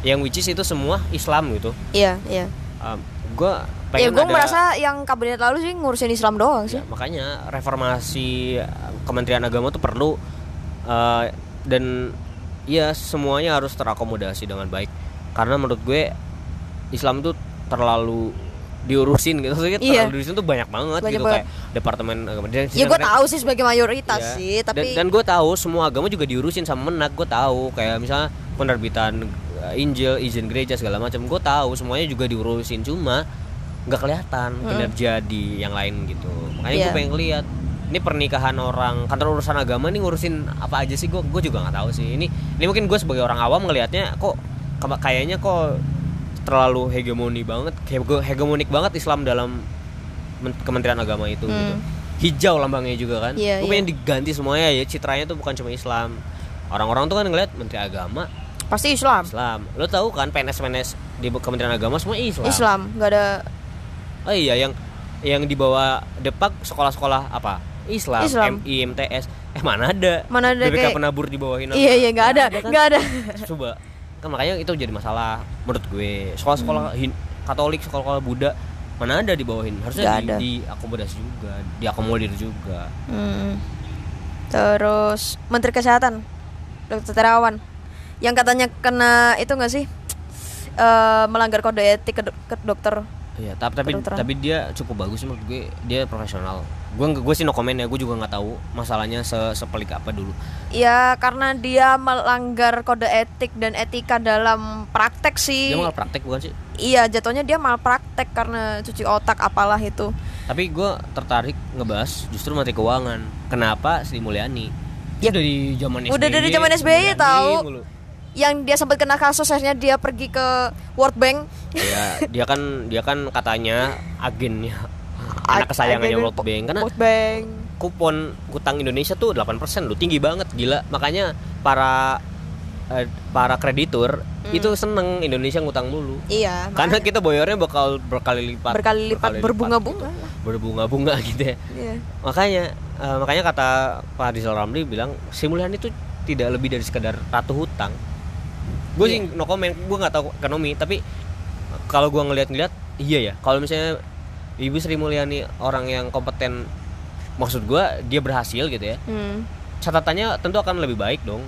B: yang which is itu semua Islam gitu
A: Iya iya.
B: um, gue
A: Ya
B: pengen
A: gue
B: ada-
A: merasa yang kabinet lalu sih ngurusin Islam doang sih.
B: Ya, makanya reformasi uh, Kementerian Agama tuh perlu uh, dan ya semuanya harus terakomodasi dengan baik karena menurut gue Islam tuh terlalu diurusin gitu Maksudnya
A: Iya.
B: terlalu diurusin tuh banyak banget
A: Banyak
B: gitu
A: banget.
B: kayak departemen agama dan
A: Ya, gue
B: sedangkan-
A: tahu sih sebagai mayoritas
B: Iya.
A: sih,
B: Dan-
A: tapi
B: dan, gue tahu semua agama juga diurusin sama menak gue tahu kayak misalnya penerbitan uh, Injil izin gereja segala macam gue tahu semuanya juga diurusin cuma nggak kelihatan kinerja di yang lain gitu makanya
A: Iya.
B: gue pengen lihat ini pernikahan orang kantor urusan agama nih ngurusin apa aja sih gue gue juga nggak tahu sih ini ini mungkin gue sebagai orang awam ngelihatnya kok kema- kayaknya kok terlalu hegemoni banget hege- hegemonik banget Islam dalam men- Kementerian Agama itu
A: Mm.
B: gitu hijau lambangnya juga kan
A: Iya,
B: Gue
A: iya.
B: pengen diganti semuanya ya citranya tuh bukan cuma Islam orang-orang tuh kan ngeliat menteri agama
A: pasti Islam.
B: Islam lo tahu kan PNS-PNS di Kementerian Agama semua Islam
A: Islam, nggak ada
B: oh iya yang yang dibawa depak sekolah-sekolah apa Islam,
A: Islam.
B: MI, MTS eh mana ada
A: Mana ada
B: BBK
A: kayak-
B: penabur dibawahin
A: Iya iya nggak ada,
B: kan?
A: nggak ada.
B: coba kan makanya itu jadi masalah menurut gue
A: Hmm.
B: sekolah-sekolah Hin- Katolik sekolah-sekolah Buddha mana ada dibawahin
A: Nggak
B: harusnya di,
A: ada.
B: diakomodasi juga diakomodir juga
A: Hmm. Terus Menteri Kesehatan Dr. Terawan yang katanya kena itu nggak sih? Eh, melanggar kode etik ke, dok- ke dokter.
B: Iya, tapi tapi,
A: Kedokteran.
B: tapi dia cukup bagus menurut gue. Dia profesional. Gue gue sih no comment ya. Gue juga nggak tahu masalahnya se sepelik apa dulu.
A: Ya karena dia melanggar kode etik dan etika dalam praktek sih.
B: Dia malah praktek bukan sih.
A: Iya jatuhnya dia malpraktek karena cuci otak apalah itu.
B: Tapi gue tertarik ngebahas justru materi keuangan. Kenapa Sri Mulyani?
A: Ya,
B: Udah dari zaman SBY.
A: udah dari zaman
B: Sri
A: SBY
B: Mulyani
A: tahu.
B: mulu.
A: Yang dia sempat kena kasus akhirnya dia pergi ke World Bank.
B: Iya, dia kan dia kan katanya agennya anak kesayangannya
A: Agen-
B: World Bank Kan karena
A: World Bank.
B: kupon utang Indonesia tuh 8% lu tinggi banget gila makanya para eh, para kreditur
A: Hmm.
B: itu seneng Indonesia ngutang mulu
A: Iya.
B: karena kita boyornya bakal berkali lipat
A: Berkali lipat, berbunga-bunga
B: gitu. berbunga-bunga gitu ya
A: makanya. Iya.
B: makanya eh, makanya kata Pak Rizal Ramli bilang Sri Mulyani itu tidak lebih dari sekedar ratu hutang gue sih no comment gue nggak tahu ekonomi tapi iya kalau gue ngeliat-ngeliat iya ya kalau misalnya Ibu Sri Mulyani orang yang kompeten maksud gua dia berhasil gitu ya
A: Hmm.
B: catatannya tentu akan lebih baik dong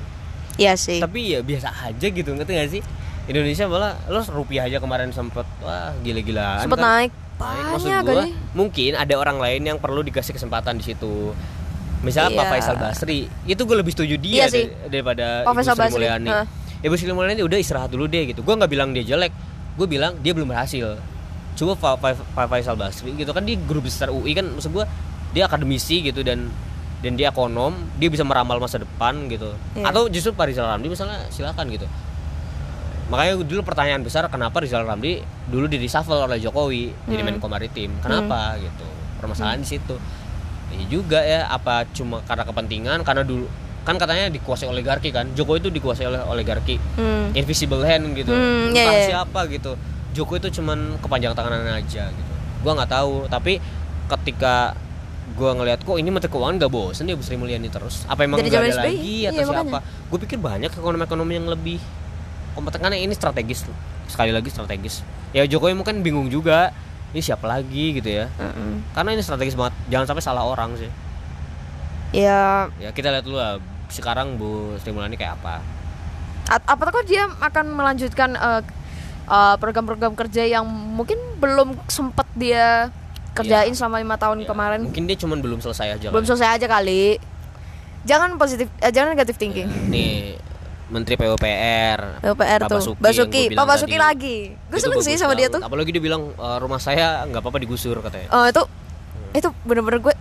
A: Iya sih.
B: tapi ya biasa aja gitu ngerti gak sih Indonesia malah lo rupiah aja kemarin sempet wah gila-gilaan
A: Sempet
B: kan.
A: naik
B: Baik, maksud
A: banyak
B: gua,
A: kali.
B: mungkin ada orang lain yang perlu dikasih kesempatan di situ. Misalnya Pak
A: Iya.
B: Faisal Basri, itu gue lebih setuju
A: Iya
B: dia
A: sih.
B: dar- daripada
A: Pak
B: Ibu
A: Faisal
B: Sri
A: Basri,
B: Mulyani.
A: hah.
B: Ibu Sri Mulyani udah istirahat dulu deh gitu. Gue nggak bilang dia jelek, gue bilang dia belum berhasil. Coba Pak Fa- Pak Faisal Basri gitu kan di guru besar UI kan maksud gue dia akademisi gitu dan dan dia ekonom, dia bisa meramal masa depan gitu.
A: Iya.
B: Atau justru Pak Rizal Ramli misalnya silakan gitu. Makanya dulu pertanyaan besar kenapa Rizal Ramli dulu di reshuffle oleh Jokowi jadi Menko Maritim. Kenapa gitu? Permasalahan di situ. Iya juga ya apa cuma karena kepentingan karena dulu kan katanya dikuasai oligarki kan. Jokowi itu dikuasai oleh oligarki.
A: Hmm.
B: Invisible hand gitu.
A: Hmm,
B: Entah
A: iya, iya.
B: siapa gitu. Jokowi itu cuman kepanjang tanganan aja gitu. Gua nggak tahu, tapi ketika gua ngelihat kok ini menteri keuangan gak bosen ya Bu Sri Mulyani terus apa emang
A: Dari
B: nggak
A: zaman
B: ada
A: SBY?
B: lagi atau
A: Iya,
B: siapa gue pikir banyak ekonomi-ekonomi yang lebih kompeten karena ini strategis sekali lagi strategis ya Jokowi mungkin bingung juga ini siapa lagi gitu ya
A: Mm-mm.
B: karena ini strategis banget jangan sampai salah orang sih
A: Ya
B: ya kita lihat dulu lah sekarang Bu Sri Mulyani kayak apa
A: At- apakah dia akan melanjutkan eh, eh, program-program kerja yang mungkin belum sempat dia kerjain selama lima tahun
B: Ya,
A: kemarin
B: mungkin dia cuman belum selesai aja
A: belum
B: kali.
A: selesai aja kali jangan positif eh, jangan negatif thinking
B: nih Menteri
A: PR
B: PUPR, Pak
A: tuh
B: Iya. Basuki yang
A: Basuki
B: gua bilang
A: Pak Basuki
B: tadi.
A: lagi gue
B: Itu
A: seneng sih
B: bagus
A: sama dia
B: banget.
A: tuh
B: Apalagi dia bilang ya? e, rumah saya nggak apa-apa digusur katanya.
A: Eh, itu itu bener-bener gue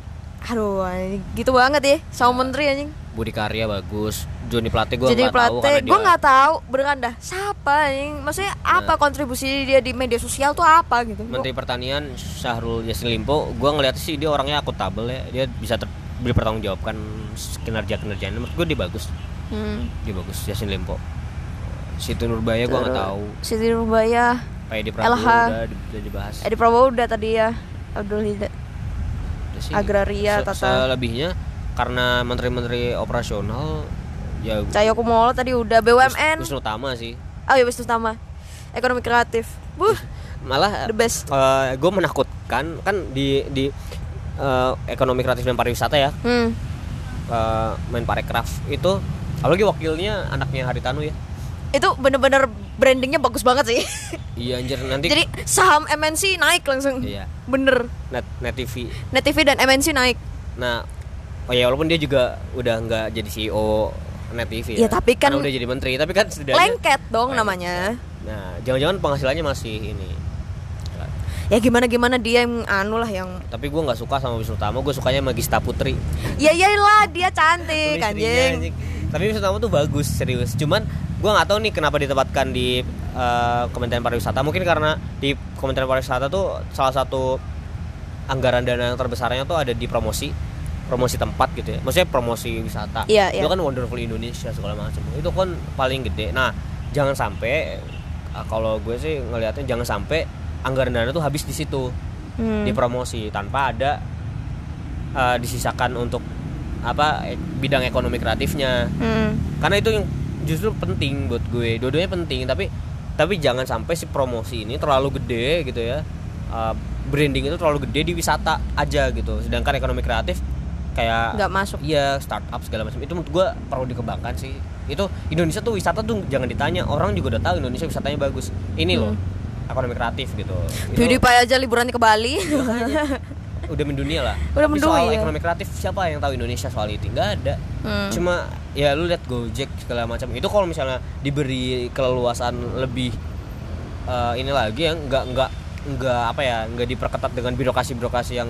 A: aduh anjing, gitu banget ya sama menteri anjing
B: Budi Karya bagus, Joni Plate gue
A: jadi
B: Iya. nggak tahu
A: Plate
B: karena dia Iya.
A: gue nggak tahu beneran dah siapa anjing maksudnya apa kontribusi dia di media sosial tuh apa gitu Gua-
B: Menteri Pertanian Syahrul Yassin Limpo, gue ngeliat sih dia orangnya akuntabel ya, dia bisa ter dipertanggungjawabkan kinerja kinerjanya. Menurut gue dia bagus,
A: Hmm.
B: dia bagus Yassin Limpo. Situ Nurbaya gue nggak tahu,
A: Siti Nurbaya,
B: kayak di Prabowo
A: LH.
B: udah, di- udah dibahas.
A: Edi Prabowo udah tadi ya, Abdul Hida.
B: Udah sih.
A: Agraria,
B: Se-
A: Tata.
B: Selebihnya karena menteri-menteri operasional ya
A: Cahyo Kumolo tadi udah BUMN.
B: Gus Utama sih.
A: Oh iya, Wisnu Tama. Ekonomi kreatif. Buh,
B: Malah
A: the best.
B: gue menakutkan kan di di eh, ekonomi kreatif dan pariwisata ya
A: Hmm.
B: eh, main parekraf itu apalagi wakilnya anaknya Haritanu ya
A: Itu bener-bener brandingnya bagus banget sih.
B: iya anjir nanti
A: Jadi saham MNC naik langsung.
B: Iya.
A: Bener.
B: net net TV
A: Net TV dan MNC naik.
B: nah oh ya walaupun dia juga udah nggak jadi CEO net TV ya,
A: Ya, tapi kan-
B: Karena udah jadi menteri tapi kan setidaknya
A: Lengket dong
B: Lengket.
A: namanya.
B: nah jangan-jangan penghasilannya masih ini iya.
A: Ya gimana-gimana dia yang anu lah yang
B: tapi gue nggak suka sama Wisnu Tama gue sukanya sama Gista Putri
A: Ya iyalah dia
B: Lu
A: cantik
B: istrinya,
A: anjing.
B: anjing. tapi Wisnu Tama tuh bagus serius cuman gua nggak tahu nih kenapa ditempatkan di eh, Kementerian Pariwisata mungkin karena di Kementerian Pariwisata tuh salah satu anggaran dana yang terbesarnya tuh ada di promosi promosi tempat gitu ya maksudnya promosi wisata
A: Iya, iya.
B: itu kan wonderful Indonesia segala macam itu kan paling gede nah jangan sampai eh, kalau gue sih ngelihatnya jangan sampai anggaran dana tuh habis di situ
A: Hmm.
B: dipromosi tanpa ada eh, disisakan untuk apa eh, bidang ekonomi kreatifnya
A: Hmm.
B: karena itu yang justru penting buat gue dua-duanya penting tapi tapi jangan sampai si promosi ini terlalu gede gitu ya Eh, branding itu terlalu gede di wisata aja gitu sedangkan ekonomi kreatif kayak
A: Nggak masuk.
B: iya startup segala macam itu menurut gue perlu dikembangkan sih itu Indonesia tuh wisata tuh jangan ditanya orang juga udah tahu Indonesia wisatanya bagus ini loh
A: Hmm.
B: ekonomi kreatif gitu Itu-
A: PewDiePie aja liburannya ke Bali.
B: Iya. udah mendunia lah.
A: Udah
B: Tapi
A: mendunia.
B: Soal ekonomi kreatif siapa yang tahu Indonesia soal itu? Nggak ada.
A: Hmm.
B: Cuma ya lu lihat Gojek segala macam itu kalau misalnya diberi keleluasan lebih eh, ini lagi yang nggak nggak nggak apa ya nggak diperketat dengan birokrasi birokrasi yang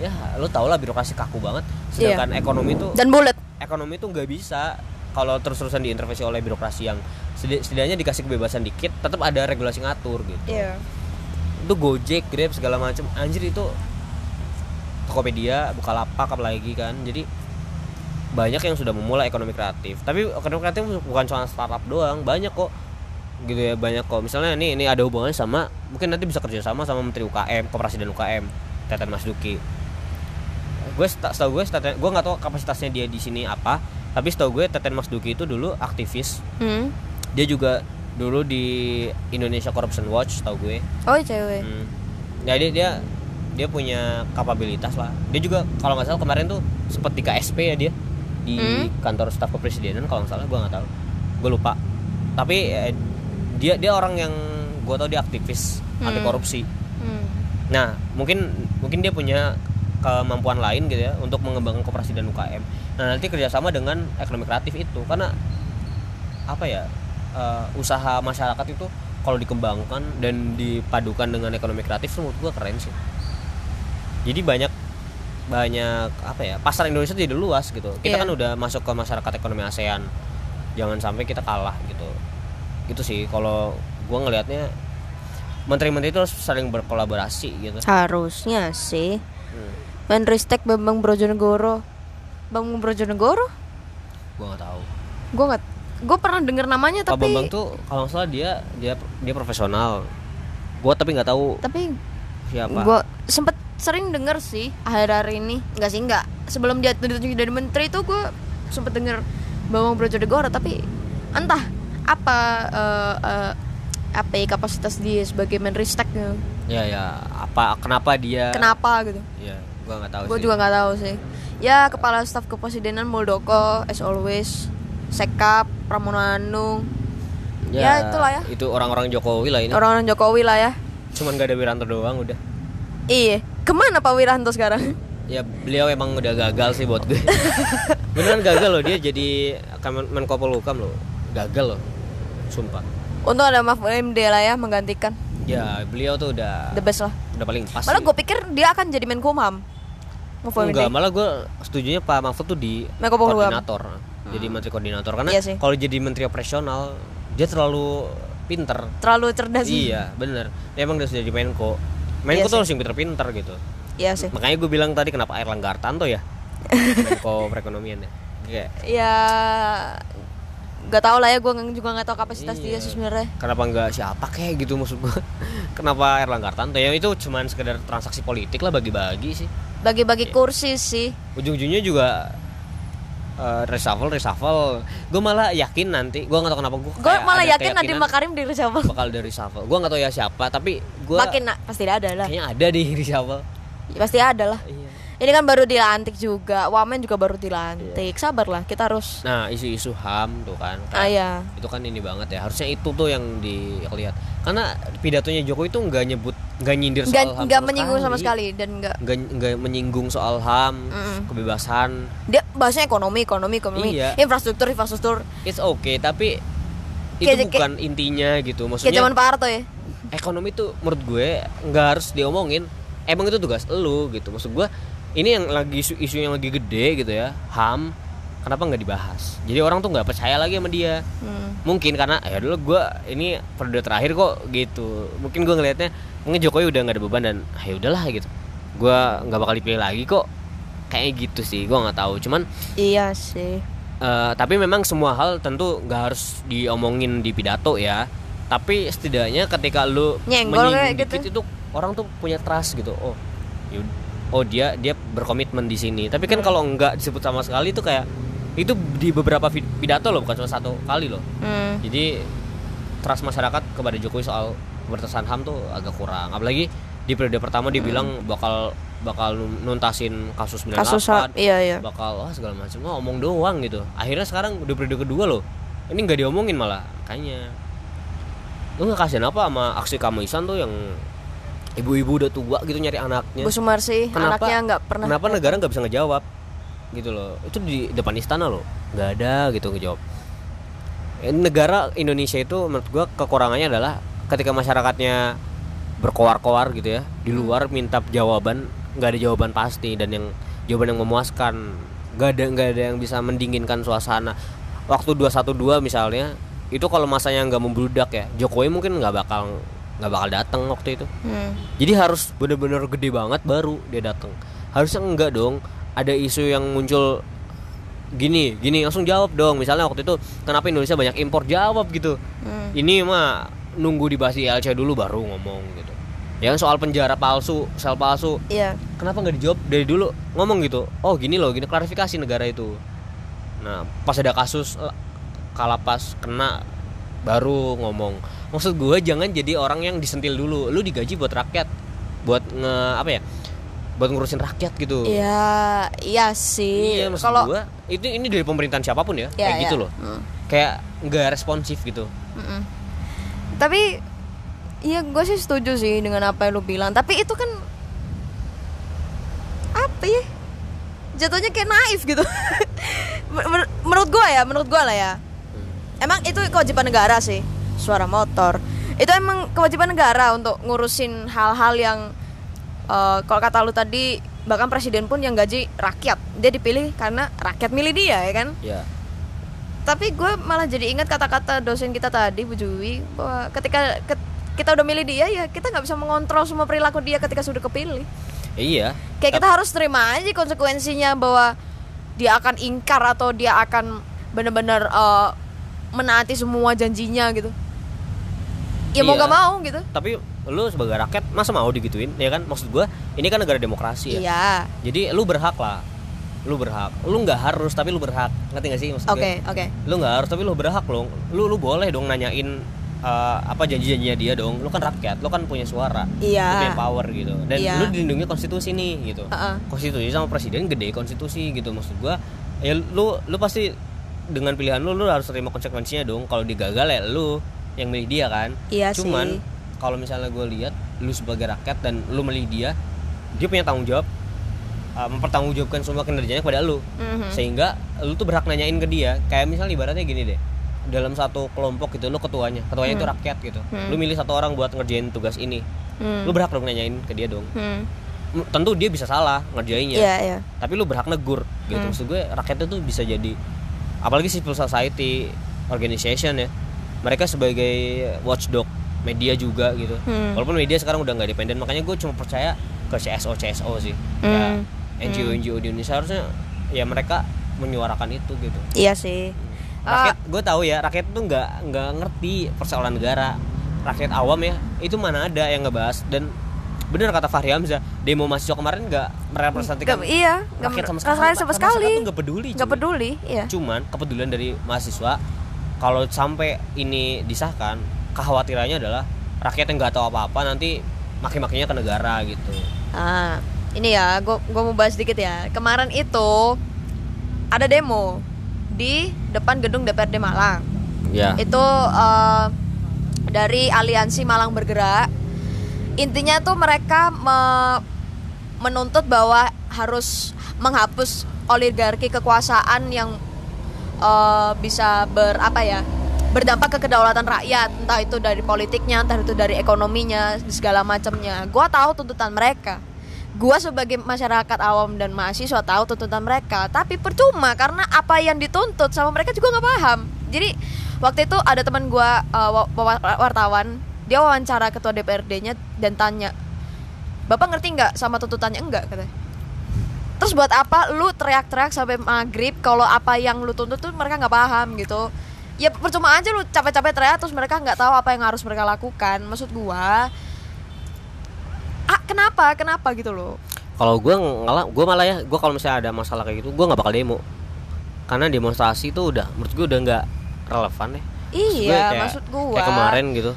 B: ya lu tau lah birokrasi kaku banget. Sedangkan ekonomi itu
A: Iya. Dan bulat.
B: ekonomi itu nggak bisa kalau terus-terusan diintervensi oleh birokrasi yang sedi- setidaknya dikasih kebebasan dikit tetap ada regulasi ngatur gitu
A: Iya.
B: itu Gojek, Grab segala macam. Anjir itu Tokopedia, Bukalapak apalagi kan. Jadi banyak yang sudah memulai ekonomi kreatif. Tapi ekonomi kreatif bukan cuma startup doang, banyak kok gitu ya banyak kok misalnya ini ini ada hubungannya sama mungkin nanti bisa kerjasama sama menteri UKM koperasi dan UKM Teten Mas Duki gue seta- setahu gue Teten gue nggak tahu kapasitasnya dia di sini apa tapi setahu gue Teten Mas Duki itu dulu aktivis
A: Hmm.
B: dia juga dulu di Indonesia Corruption Watch setahu gue
A: Oh, iya, cewek.
B: Hmm. Jadi dia dia punya kapabilitas lah dia juga kalau nggak salah kemarin tuh sempet di KSP ya dia di
A: Hmm.
B: kantor staf kepresidenan kalau nggak salah gue nggak tahu gue lupa tapi eh, dia dia orang yang gue tau dia aktivis anti
A: Hmm.
B: korupsi
A: Hmm.
B: nah mungkin mungkin dia punya kemampuan lain gitu ya untuk mengembangkan koperasi dan UKM nah nanti kerjasama dengan ekonomi kreatif itu karena apa ya eh, usaha masyarakat itu kalau dikembangkan dan dipadukan dengan ekonomi kreatif tuh menurut gua keren sih jadi banyak banyak apa ya pasar Indonesia jadi luas gitu kita
A: Iya.
B: kan udah masuk ke masyarakat ekonomi ASEAN jangan sampai kita kalah gitu itu sih kalau gua ngelihatnya menteri-menteri itu harus saling berkolaborasi gitu
A: Harusnya sih.
B: Hmm,
A: Menristek Bambang Brojonegoro. Bambang Brojonegoro?
B: gua nggak tahu
A: Gue nggak, gue pernah denger namanya Ya,
B: Pak
A: tapi
B: Bambang tuh kalau nggak salah dia dia dia profesional gua tapi nggak tahu
A: tapi
B: siapa
A: gue sempet sering denger sih akhir-akhir ini nggak sih nggak sebelum dia ditunjuk jadi menteri itu gue sempet denger Bambang Brojonegoro tapi entah apa eh, eh, apa ya, kapasitas dia sebagai menristek gitu.
B: ya ya apa kenapa dia
A: kenapa gitu
B: ya gua nggak tahu
A: gue
B: sih.
A: juga nggak tahu sih ya kepala staf kepresidenan Muldoko as always Sekap Pramono Anung Ya, itulah ya.
B: itu orang-orang Jokowi lah ini
A: orang-orang Jokowi lah ya
B: cuman gak ada Wiranto doang udah
A: iya kemana Pak Wiranto sekarang
B: ya beliau emang udah gagal sih buat gue beneran gagal loh dia jadi Kamen- Menko Polhukam loh gagal loh sumpah
A: untuk ada Mahfud MD lah ya menggantikan
B: ya beliau tuh udah
A: the best lah
B: udah paling pas
A: malah
B: sih.
A: gue pikir dia akan jadi Menkumham Mahfud
B: enggak
A: MD
B: malah gue setujunya Pak Mahfud tuh di
A: Menko Polhukam.
B: koordinator jadi menteri koordinator karena
A: Iya sih.
B: kalau jadi menteri operasional dia terlalu pinter
A: terlalu cerdas sih
B: iya bener dia emang udah sudah di Menko Menko
A: Iya
B: tuh harus yang pinter-pinter gitu
A: iya sih
B: makanya gue bilang tadi kenapa air Hartanto ya Menko perekonomian ya Kayak,
A: ya nggak tahu lah ya gue juga nggak tahu kapasitas
B: Iya.
A: dia sih sebenarnya
B: kenapa nggak siapa kayak gitu maksud gue kenapa Erlangga Hartanto ya itu cuman sekedar transaksi politik lah bagi-bagi sih
A: bagi-bagi
B: Iya.
A: kursi sih
B: ujung-ujungnya juga eh, reshuffle reshuffle gue malah yakin nanti gue nggak tahu kenapa gue
A: gue malah yakin Nadiem Makarim di reshuffle
B: bakal dari reshuffle gue nggak tahu ya siapa tapi gue
A: makin nak pasti ada lah
B: kayaknya ada di reshuffle
A: Ya, pasti ada lah
B: iya.
A: ini kan baru dilantik juga wamen juga baru
B: Iya.
A: dilantik sabarlah kita harus
B: nah isu-isu ham tuh kan
A: ah
B: kayak
A: ya
B: itu kan ini banget ya harusnya itu tuh yang dilihat karena pidatonya Jokowi itu nggak nyebut nggak nyindir soal
A: nggak
B: ham
A: nggak
B: sama
A: menyinggung sama sekali dan nggak
B: nggak nggak menyinggung soal ham kebebasan
A: dia bahasanya ekonomi ekonomi ekonomi
B: Iya.
A: infrastruktur infrastruktur
B: it's okay tapi itu
A: Kayak- kayak-
B: bukan intinya gitu
A: kayak
B: maksudnya
A: zaman Pak Harto ya
B: ekonomi tuh menurut gue nggak harus diomongin emang itu tugas elu gitu maksud gue ini yang lagi isu, isu yang lagi gede gitu ya ham kenapa nggak dibahas jadi orang tuh nggak percaya lagi sama dia
A: Hmm.
B: mungkin karena ya dulu gue ini periode terakhir kok gitu mungkin gue ngelihatnya mungkin Jokowi udah nggak ada beban dan ah, ya udahlah gitu gue nggak bakal dipilih lagi kok kayak gitu sih gue nggak tahu cuman
A: iya sih
B: Eh, tapi memang semua hal tentu nggak harus diomongin di pidato ya. Tapi setidaknya ketika lu
A: Nyenggol
B: menyinggung
A: kayak gitu.
B: dikit itu orang tuh punya trust gitu. Oh, yud- oh dia dia berkomitmen di sini. Tapi
A: Hmm.
B: kan kalau nggak disebut sama sekali itu kayak itu di beberapa vid- pidato loh bukan cuma satu kali loh.
A: Hmm.
B: Jadi trust masyarakat kepada Jokowi soal pemberantasan HAM tuh agak kurang. Apalagi di periode pertama dibilang
A: Hmm.
B: bakal bakal nuntasin kasus 98
A: kasus ha- iya iya
B: bakal wah segala macam wah omong doang gitu akhirnya sekarang udah periode kedua loh ini nggak diomongin malah kayaknya lu nggak kasihan apa sama aksi kamisan tuh yang ibu-ibu udah tua gitu nyari anaknya
A: Bu Sumarsi
B: Kenapa-
A: anaknya nggak pernah
B: kenapa negara nggak bisa ngejawab gitu loh itu di depan istana loh nggak ada gitu ngejawab Eh, negara Indonesia itu menurut gua kekurangannya adalah ketika masyarakatnya berkoar-koar gitu ya
A: Hmm.
B: di luar minta jawaban nggak ada jawaban pasti dan yang jawaban yang memuaskan nggak ada nggak ada yang bisa mendinginkan suasana waktu 212 misalnya itu kalau masanya nggak membludak ya Jokowi mungkin nggak bakal nggak bakal datang waktu itu
A: Hmm.
B: jadi harus bener-bener gede banget baru dia datang. Harusnya enggak dong. Ada isu yang muncul gini, gini langsung jawab dong. Misalnya waktu itu kenapa Indonesia banyak impor jawab gitu.
A: Hmm.
B: Ini mah nunggu dibahas ILC dulu baru ngomong gitu. Ya soal penjara palsu, sel palsu,
A: iya
B: kenapa nggak dijawab dari dulu ngomong gitu oh gini loh gini klarifikasi negara itu nah pas ada kasus eh, kalapas kena baru ngomong maksud gue jangan jadi orang yang disentil dulu lu digaji buat rakyat buat nge apa ya buat ngurusin rakyat gitu
A: ya iya sih
B: iya maksud
A: kalau
B: gua itu ini dari pemerintahan siapapun ya,
A: Ya,
B: kayak
A: ya.
B: gitu loh
A: Mm.
B: kayak nggak responsif gitu
A: Mm-mm. tapi iya gue sih setuju sih dengan apa yang lu bilang tapi itu kan apa ya jatuhnya kayak naif gitu Mer- mer- menurut gue ya menurut gue lah ya emang itu kewajiban negara sih suara motor itu emang kewajiban negara untuk ngurusin hal-hal yang eh, kalau kata lu tadi bahkan presiden pun yang gaji rakyat dia dipilih karena rakyat milih dia ya kan
B: ya
A: tapi gue malah jadi ingat kata-kata dosen kita tadi Bu Jui bahwa ketika ke- kita udah milih dia ya kita nggak bisa mengontrol semua perilaku dia ketika sudah kepilih
B: iya
A: kayak kita harus terima aja konsekuensinya bahwa dia akan ingkar atau dia akan benar-benar eh, menaati semua janjinya gitu ya mau
B: Iya.
A: nggak mau gitu
B: tapi lu sebagai rakyat masa mau digituin ya kan maksud gua ini kan negara demokrasi ya
A: iya
B: jadi lu berhak lah lu berhak lu nggak harus tapi lu berhak ngerti gak sih maksud gua?
A: oke oke
B: lu nggak harus tapi lu berhak lo lu lu boleh dong nanyain eh, apa janji-janjinya dia dong lu kan rakyat lu kan punya suara lu
A: iya
B: punya power gitu dan
A: Iya.
B: lu dilindungi konstitusi nih gitu
A: Heeh.
B: konstitusi sama presiden gede konstitusi gitu maksud gua ya lu lu pasti dengan pilihan lu lu harus terima konsekuensinya dong kalau dia gagal ya lu yang milih dia kan
A: Iya sih.
B: cuman kalau misalnya gue lihat lu sebagai rakyat dan lu milih dia dia punya tanggung jawab uh, mempertanggungjawabkan semua kinerjanya kepada lu
A: Mhm.
B: sehingga lu tuh berhak nanyain ke dia kayak misalnya ibaratnya gini deh dalam satu kelompok gitu lu ketuanya ketuanya itu rakyat gitu lu milih satu orang buat ngerjain tugas ini
A: Hmm.
B: lu berhak dong nanyain ke dia dong
A: Hmm.
B: M- tentu dia bisa salah ngerjainnya
A: iya iya
B: tapi lu berhak negur gitu
A: Hmm.
B: maksud gue rakyatnya tuh bisa jadi apalagi civil society organization ya mereka sebagai watchdog media juga gitu
A: Hmm.
B: walaupun media sekarang udah nggak dependen makanya gue cuma percaya ke CSO CSO sih ya
A: Hmm.
B: NGO NGO di Indonesia harusnya ya mereka menyuarakan itu gitu
A: iya sih Eh,
B: rakyat gue tahu ya rakyat tuh nggak nggak ngerti persoalan negara rakyat awam ya itu mana ada yang ngebahas dan bener kata Fahri Hamzah demo mahasiswa kemarin nggak merepresentasikan
A: Nggak- iya, nggak
B: rakyat sama
A: mer-
B: sekali
A: rakyat
B: Pak.
A: sama
B: Karena masyarakat
A: sekali.
B: tuh nggak peduli
A: nggak
B: cuy.
A: peduli iya
B: cuman kepedulian dari mahasiswa kalau sampai ini disahkan kekhawatirannya adalah rakyat yang nggak tahu apa-apa nanti maki-makinya ke negara gitu
A: Ah, ini ya, gua gua mau bahas dikit ya. Kemarin itu ada demo di depan gedung DPRD Malang.
B: ya
A: Itu eh, dari Aliansi Malang Bergerak. Intinya tuh mereka me- menuntut bahwa harus menghapus oligarki kekuasaan yang eh, bisa berapa ya? berdampak ke kedaulatan rakyat entah itu dari politiknya entah itu dari ekonominya segala macamnya gua tahu tuntutan mereka gua sebagai masyarakat awam dan mahasiswa tahu tuntutan mereka tapi percuma karena apa yang dituntut sama mereka juga nggak paham jadi waktu itu ada teman gua eh, wa- wa- wartawan dia wawancara ketua DPRD-nya dan tanya bapak ngerti nggak sama tuntutannya enggak katanya terus buat apa lu teriak-teriak sampai maghrib kalau apa yang lu tuntut tuh mereka nggak paham gitu ya percuma aja lu capek-capek teriak terus mereka nggak tahu apa yang harus mereka lakukan maksud gua ah kenapa kenapa gitu loh
B: kalau gue ngalah gue malah ya gue kalau misalnya ada masalah kayak gitu gue nggak bakal demo karena demonstrasi itu udah menurut gue udah nggak relevan ya Maksud gue
A: iya
B: kayak-
A: maksud gua
B: kayak kemarin gitu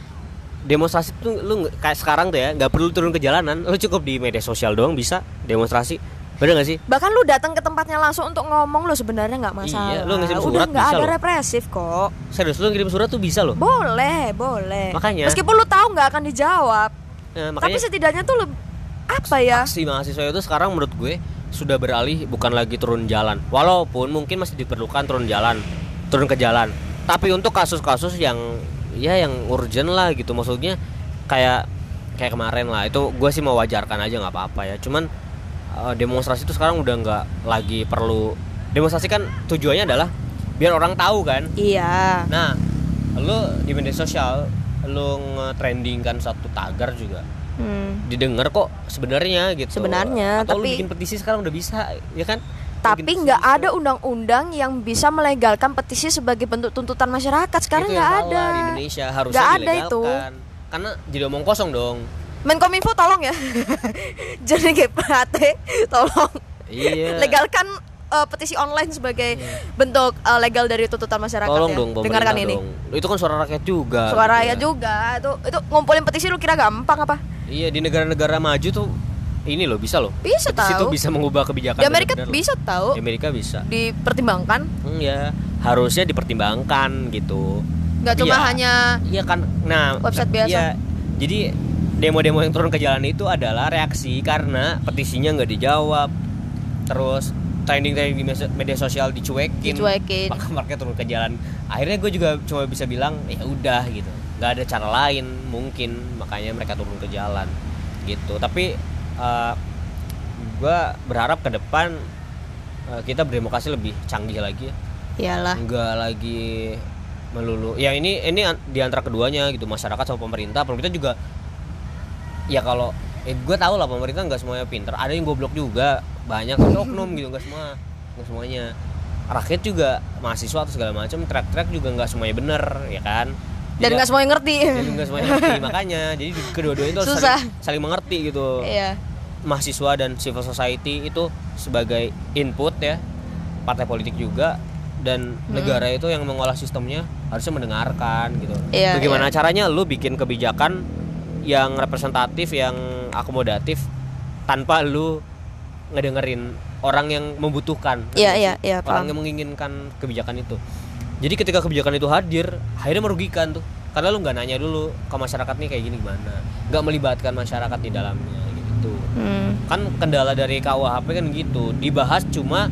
B: demonstrasi tuh lu nggak- kayak sekarang tuh ya nggak perlu turun ke jalanan lu cukup di media sosial doang bisa demonstrasi bener gak sih
A: bahkan lu datang ke tempatnya langsung untuk ngomong lu sebenarnya nggak masalah
B: Iya, lu ngirim
A: udah
B: surat
A: nggak
B: bisa
A: ada
B: loh.
A: represif kok
B: serius lu ngirim surat tuh bisa loh
A: boleh boleh
B: Makanya.
A: meskipun lu tahu nggak akan dijawab
B: Nah,
A: tapi
B: makanya
A: setidaknya tuh lu apa ya
B: aksi mahasiswa itu sekarang menurut gue sudah beralih bukan lagi turun jalan walaupun mungkin masih diperlukan turun jalan turun ke jalan tapi untuk kasus-kasus yang ya yang urgent lah gitu maksudnya kayak kayak kemarin lah itu gue sih mau wajarkan aja nggak apa-apa ya cuman eh, demonstrasi itu sekarang udah nggak lagi perlu demonstrasi kan tujuannya adalah biar orang tahu kan
A: iya
B: Nah, lu di media sosial lu nge-trendingkan satu tagar juga
A: Hmm.
B: didengar kok sebenarnya gitu.
A: Sebenarnya,
B: Atau lu
A: tapi-
B: bikin petisi sekarang udah bisa, ya kan?
A: Tapi
B: Bikin
A: nggak
B: petisi.
A: ada undang-undang yang bisa melegalkan petisi sebagai bentuk tuntutan masyarakat. Sekarang
B: Itu yang
A: nggak
B: salah
A: ada.
B: di Indonesia harusnya
A: Nggak ada
B: ada
A: itu.
B: Karena jadi omong kosong dong.
A: Menkominfo tolong ya. Jadi GPHT tolong
B: Iya.
A: legalkan eh, petisi online sebagai bentuk eh, legal dari tuntutan masyarakat
B: Tolong
A: ya.
B: dong pemerintah
A: Dengarkan ini.
B: dong. Itu kan suara rakyat juga.
A: Suara
B: gitu
A: ya juga itu itu ngumpulin petisi lu kira gampang apa?
B: Iya, di negara-negara maju tuh ini loh bisa loh.
A: Bisa
B: Di situ
A: tahu.
B: bisa mengubah kebijakan.
A: Di Amerika
B: bener-bener Iya. loh.
A: bisa tahu
B: Di Amerika bisa.
A: dipertimbangkan,
B: Hmm, ya harusnya dipertimbangkan gitu.
A: nggak cuma
B: Iya.
A: hanya
B: Iya kan. Nah,
A: Website biasa.
B: iya. jadi demo-demo yang turun ke jalan itu adalah reaksi karena petisinya nggak dijawab. Terus trending-trending di mes- media sosial dicuekin.
A: Dicuekin.
B: Maka mereka turun ke jalan. Akhirnya gue juga cuma bisa bilang ya udah gitu. nggak ada cara lain mungkin makanya mereka turun ke jalan gitu. Tapi eh, gue berharap ke depan eh, kita berdemokrasi lebih canggih lagi ya
A: iyalah
B: nggak lagi melulu ya ini ini an- di antara keduanya gitu masyarakat sama pemerintah pemerintah juga ya kalau eh, gue tahu lah pemerintah nggak semuanya pinter ada yang goblok juga banyak tapi oknum gitu nggak semua nggak semuanya rakyat juga mahasiswa atau segala macam track-track juga nggak semuanya bener ya kan
A: dan nggak semua yang ngerti.
B: dan nggak semuanya ngerti, makanya jadi di- kedua-duanya itu harus
A: Susah.
B: saling, saling mengerti gitu
A: Iya.
B: mahasiswa dan civil society itu sebagai input ya partai politik juga
A: Hmm.
B: dan negara itu yang mengolah sistemnya harusnya mendengarkan gitu.
A: Iya,
B: Bagaimana caranya lu bikin kebijakan yang representatif, yang akomodatif tanpa lu ngedengerin orang yang membutuhkan.
A: Iya,
B: Ngerti
A: iya,
B: sih?
A: iya,
B: Orang
A: paham.
B: yang menginginkan kebijakan itu. Jadi ketika kebijakan itu hadir, akhirnya merugikan tuh. Karena lu nggak nanya dulu ke masyarakat nih kayak gini gimana. nggak melibatkan masyarakat di dalamnya gitu
A: Hmm.
B: kan kendala dari KUHP kan gitu dibahas cuma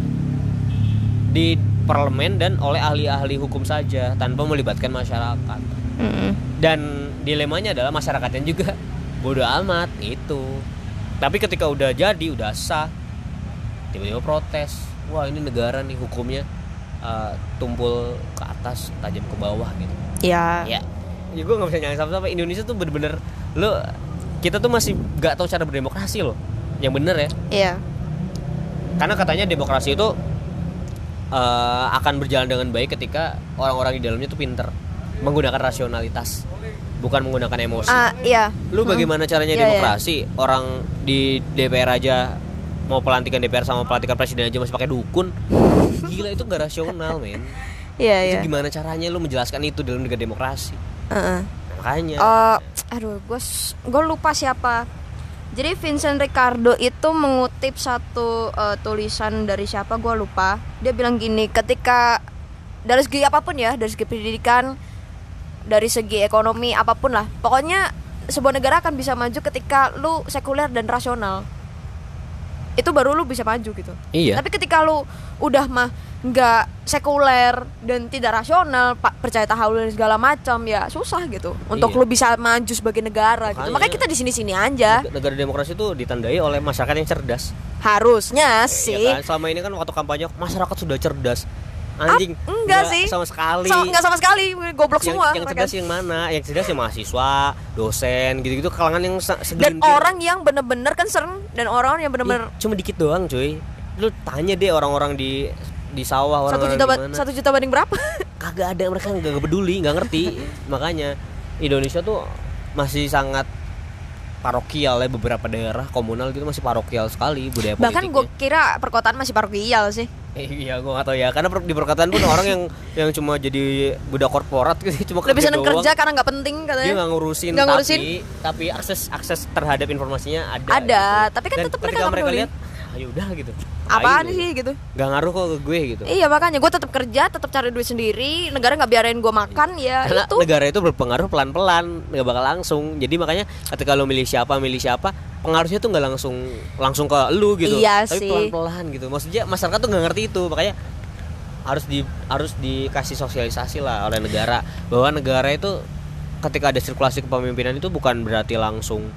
B: di parlemen dan oleh ahli-ahli hukum saja tanpa melibatkan masyarakat
A: Mm-mm.
B: dan dilemanya adalah masyarakatnya juga bodoh amat itu tapi ketika udah jadi udah sah tiba-tiba protes wah ini negara nih hukumnya eh, tumpul ke atas tajam ke bawah gitu
A: Ya.
B: ya ya gue nggak bisa nyalain siapa-siapa Indonesia tuh bener-bener lo kita tuh masih nggak tahu cara berdemokrasi loh yang bener ya
A: Iya.
B: karena katanya demokrasi itu eh, akan berjalan dengan baik ketika orang-orang di dalamnya itu pinter menggunakan rasionalitas bukan menggunakan emosi
A: Ah, iya.
B: lu bagaimana
A: Iya,
B: caranya
A: iya.
B: demokrasi orang di DPR aja mau pelantikan DPR sama pelantikan presiden aja masih pakai dukun gila itu gak rasional men
A: Iya,
B: itu
A: iya.
B: gimana caranya lu menjelaskan itu dalam negara demokrasi
A: Heeh.
B: makanya
A: Eh, aduh, gue gue lupa siapa. Jadi Vincent Ricardo itu mengutip satu eh, tulisan dari siapa gue lupa. Dia bilang gini, ketika dari segi apapun ya, dari segi pendidikan, dari segi ekonomi apapun lah, pokoknya sebuah negara akan bisa maju ketika lu sekuler dan rasional. Itu baru lu bisa maju gitu.
B: iya
A: Tapi ketika lu udah mah nggak sekuler dan tidak rasional, pak percaya tahawul dan segala macam ya susah gitu untuk
B: Iya.
A: lu bisa maju sebagai negara gitu.
B: Makanya.
A: Makanya kita di sini-sini aja
B: Neg- negara demokrasi itu ditandai oleh masyarakat yang cerdas
A: harusnya
B: Iya
A: sih.
B: kan? Selama ini kan waktu kampanye masyarakat sudah cerdas. Anjing.
A: Ap- enggak sih.
B: Sama sekali.
A: So, nggak sama sekali goblok
B: yang,
A: semua. ya kan?
B: yang
A: mereka.
B: cerdas yang mana? Yang cerdas yang mahasiswa, dosen, gitu-gitu kalangan yang se-
A: dan
B: segelintir.
A: orang yang bener-bener concern dan orang yang
B: Ih,
A: bener-bener
B: cuma dikit doang, cuy. Lu tanya deh orang-orang di di sawah
A: satu
B: orang-orang
A: juta
B: di
A: ba-
B: mana.
A: satu juta banding berapa?
B: Kagak ada mereka nggak peduli, nggak ngerti. Makanya Indonesia tuh masih sangat parokial ya beberapa daerah komunal gitu masih parokial sekali budaya
A: Bahkan
B: politiknya.
A: gue kira perkotaan masih parokial sih.
B: Iya, gua gak tau ya. Karena per- di perkataan pun orang yang yang cuma jadi budak korporat gitu, cuma kerja
A: Lebih seneng
B: doang.
A: kerja karena nggak penting katanya.
B: Dia nggak ngurusin,
A: Nggak ngurusin.
B: tapi tapi akses akses terhadap informasinya ada. gitu.
A: Ada, tapi kan
B: Dan
A: tetap
B: ketika
A: mereka nggak peduli.
B: lihat, ah, ya udah gitu.
A: Apaan
B: Ayo,
A: sih gitu?
B: Gak ngaruh kok ke gue gitu.
A: Iya makanya gue tetap kerja, tetap cari duit sendiri. Negara nggak biarin gue makan ya
B: Iya. Karena
A: itu.
B: negara itu berpengaruh pelan-pelan, nggak bakal langsung. Jadi makanya ketika lo milih siapa, milih siapa, pengaruhnya tuh nggak langsung langsung ke lu gitu.
A: Iya
B: Tapi
A: sih.
B: pelan-pelan gitu. Maksudnya masyarakat tuh nggak ngerti itu, makanya harus di harus dikasih sosialisasi lah oleh negara bahwa negara itu ketika ada sirkulasi kepemimpinan itu bukan berarti langsung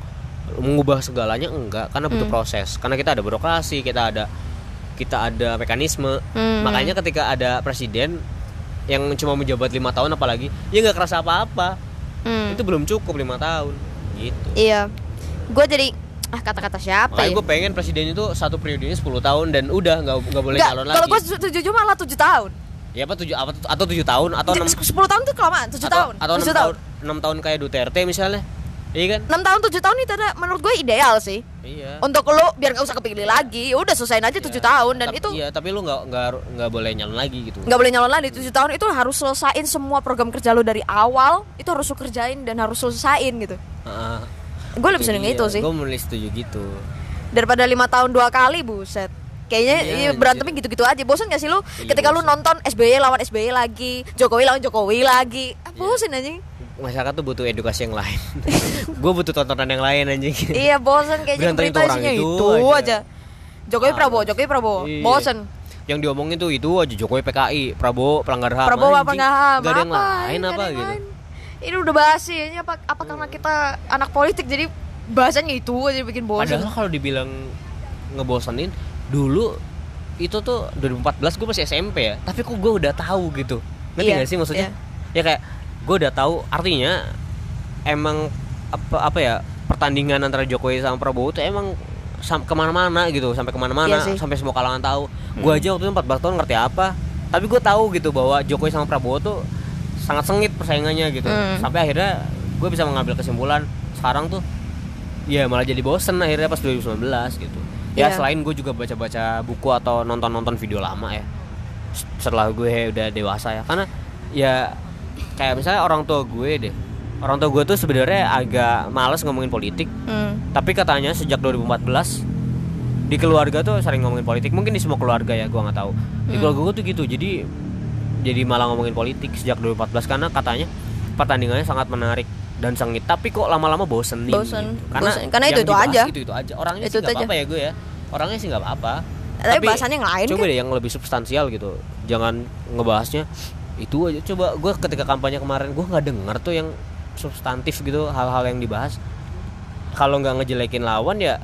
B: mengubah segalanya enggak karena
A: Hmm.
B: butuh proses karena kita ada birokrasi kita ada kita ada mekanisme
A: Hmm.
B: makanya ketika ada presiden yang cuma menjabat lima tahun apalagi ya nggak kerasa apa-apa
A: Hmm,
B: itu belum cukup lima tahun gitu
A: Iya. Gue jadi ah kata-kata siapa
B: makanya
A: ya?
B: gue pengen presiden itu satu periodenya 10 tahun dan udah nggak nggak boleh
A: Nggak,
B: calon
A: kalau
B: lagi
A: gue setuju malah tujuh tahun.
B: ya apa tujuh apa atau tujuh tahun atau enam
A: Sepuluh tahun tuh kelamaan, tujuh
B: atau,
A: tahun.
B: atau enam
A: Tujuh
B: tahun enam tahun kayak Duterte misalnya iya kan
A: Enam tahun tujuh tahun itu ada menurut gue ideal sih.
B: iya
A: Untuk lo biar nggak usah kepilih lagi, ya udah selesaiin aja Oh, tujuh tahun dan
B: Tapi-
A: itu
B: iya tapi lu nggak nggak nggak boleh nyalon lagi gitu
A: nggak boleh nyalon lagi tujuh tahun itu harus selesain semua program kerja lo dari awal itu harus lo kerjain dan harus selesain gitu.
B: Heeh. Iya,
A: Gue lebih seneng itu sih.
B: gue menulis setuju gitu
A: daripada lima tahun dua kali buset kayaknya
B: Iya,
A: iya, berantemnya gitu-gitu aja bosan gak sih lu
B: Iya,
A: ketika lu
B: bosen.
A: nonton SBY lawan SBY lagi Jokowi lawan Jokowi lagi ah,
B: Iya.
A: bosan anjing
B: masyarakat tuh butuh edukasi yang lain gue butuh tontonan yang lain anjing
A: iya bosan kayaknya
B: Berantem
A: berita
B: itu orang
A: isinya itu,
B: itu
A: aja.
B: aja.
A: Jokowi
B: Ah,
A: Prabowo
B: bosen.
A: Jokowi Prabowo
B: Iya.
A: bosan
B: yang diomongin tuh itu aja Jokowi PKI Prabowo pelanggar HAM
A: Prabowo apa
B: anjing.
A: nggak ham
B: Nggak ada yang lain
A: nggak ada
B: apa
A: yang
B: gitu Iya.
A: lain. ini udah bahas sih ini apa apa karena kita anak politik jadi bahasannya itu aja bikin bosan
B: Padahal kan kalau dibilang ngebosenin dulu itu tuh 2014 gue masih SMP ya, tapi kok gue udah tahu gitu. Ngerti
A: Iya,
B: nggak sih maksudnya? Ya kayak gue udah tahu artinya emang apa apa ya pertandingan antara Jokowi sama Prabowo itu emang sam- kemana-mana gitu sampai kemana-mana
A: Iya sih.
B: sampai semua kalangan tahu. Gue aja waktu itu 14 tahun ngerti apa, tapi gue tahu gitu bahwa Jokowi sama Prabowo tuh sangat sengit persaingannya gitu.
A: Hmm.
B: Sampai akhirnya gue bisa mengambil kesimpulan sekarang tuh ya malah jadi bosen akhirnya pas 2019 gitu ya
A: Iya.
B: selain gue juga baca-baca buku atau nonton-nonton video lama ya s- setelah gue udah dewasa ya karena ya kayak misalnya orang tua gue deh orang tua gue tuh sebenarnya agak males ngomongin politik
A: Hmm.
B: tapi katanya sejak 2014 di keluarga tuh sering ngomongin politik mungkin di semua keluarga ya gua nggak tahu
A: Hmm.
B: di keluarga gue tuh gitu jadi jadi malah ngomongin politik sejak 2014 karena katanya pertandingannya sangat menarik dan sengit tapi kok lama-lama bosenin
A: Bosen,
B: gitu.
A: bosen. Karena
B: yang
A: itu-itu
B: dibahas
A: aja.
B: itu itu aja orangnya
A: Itu-itu
B: sih nggak
A: aja.
B: apa-apa ya gue ya orangnya sih nggak apa-apa
A: Eh, Tapi bahasannya yang lain
B: coba
A: kan?
B: deh yang lebih substansial gitu jangan ngebahasnya itu aja coba gue ketika kampanye kemarin gue nggak dengar tuh yang substantif gitu hal-hal yang dibahas kalau nggak ngejelekin lawan ya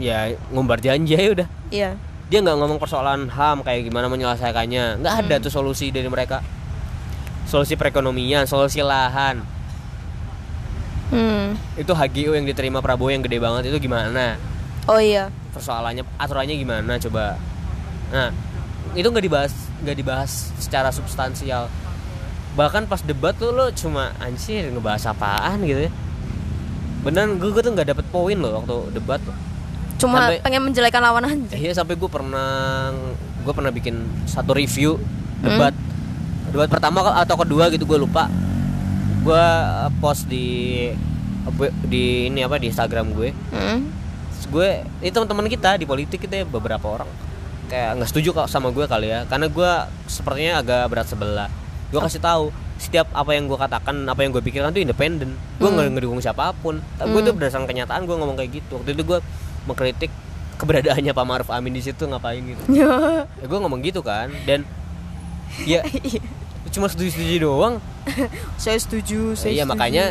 B: ya ngumbar janji ya udah
A: iya
B: dia nggak ngomong persoalan ham kayak gimana menyelesaikannya nggak
A: Hmm.
B: ada tuh solusi dari mereka solusi perekonomian solusi lahan
A: Hmm.
B: itu HGU yang diterima Prabowo yang gede banget itu gimana
A: oh iya
B: persoalannya aturannya gimana coba nah itu nggak dibahas nggak dibahas secara substansial bahkan pas debat tuh lo cuma anjir ngebahas apaan gitu ya beneran gue, gue tuh nggak dapet poin loh waktu debat
A: cuma
B: Sampai-
A: pengen menjelekan lawan aja
B: Iya sampai gue pernah gue pernah bikin satu review debat debat pertama ke- atau kedua gitu gue lupa gue eh, post di di ini apa di Instagram gue
A: Hmm.
B: Terus gue ini teman-teman kita di politik kita ya beberapa orang kayak nggak setuju kok sama gue kali ya karena gue sepertinya agak berat sebelah gue kasih tahu setiap apa yang gue katakan apa yang gue pikirkan itu independen gue nggak ngedukung siapapun tapi gue tuh berdasarkan kenyataan gue ngomong kayak gitu waktu itu gue mengkritik keberadaannya Pak Maruf Amin di situ ngapain gitu ya, gue ngomong gitu kan dan ya cuma setuju-setuju doang
A: saya setuju saya
B: iya
A: setuju.
B: makanya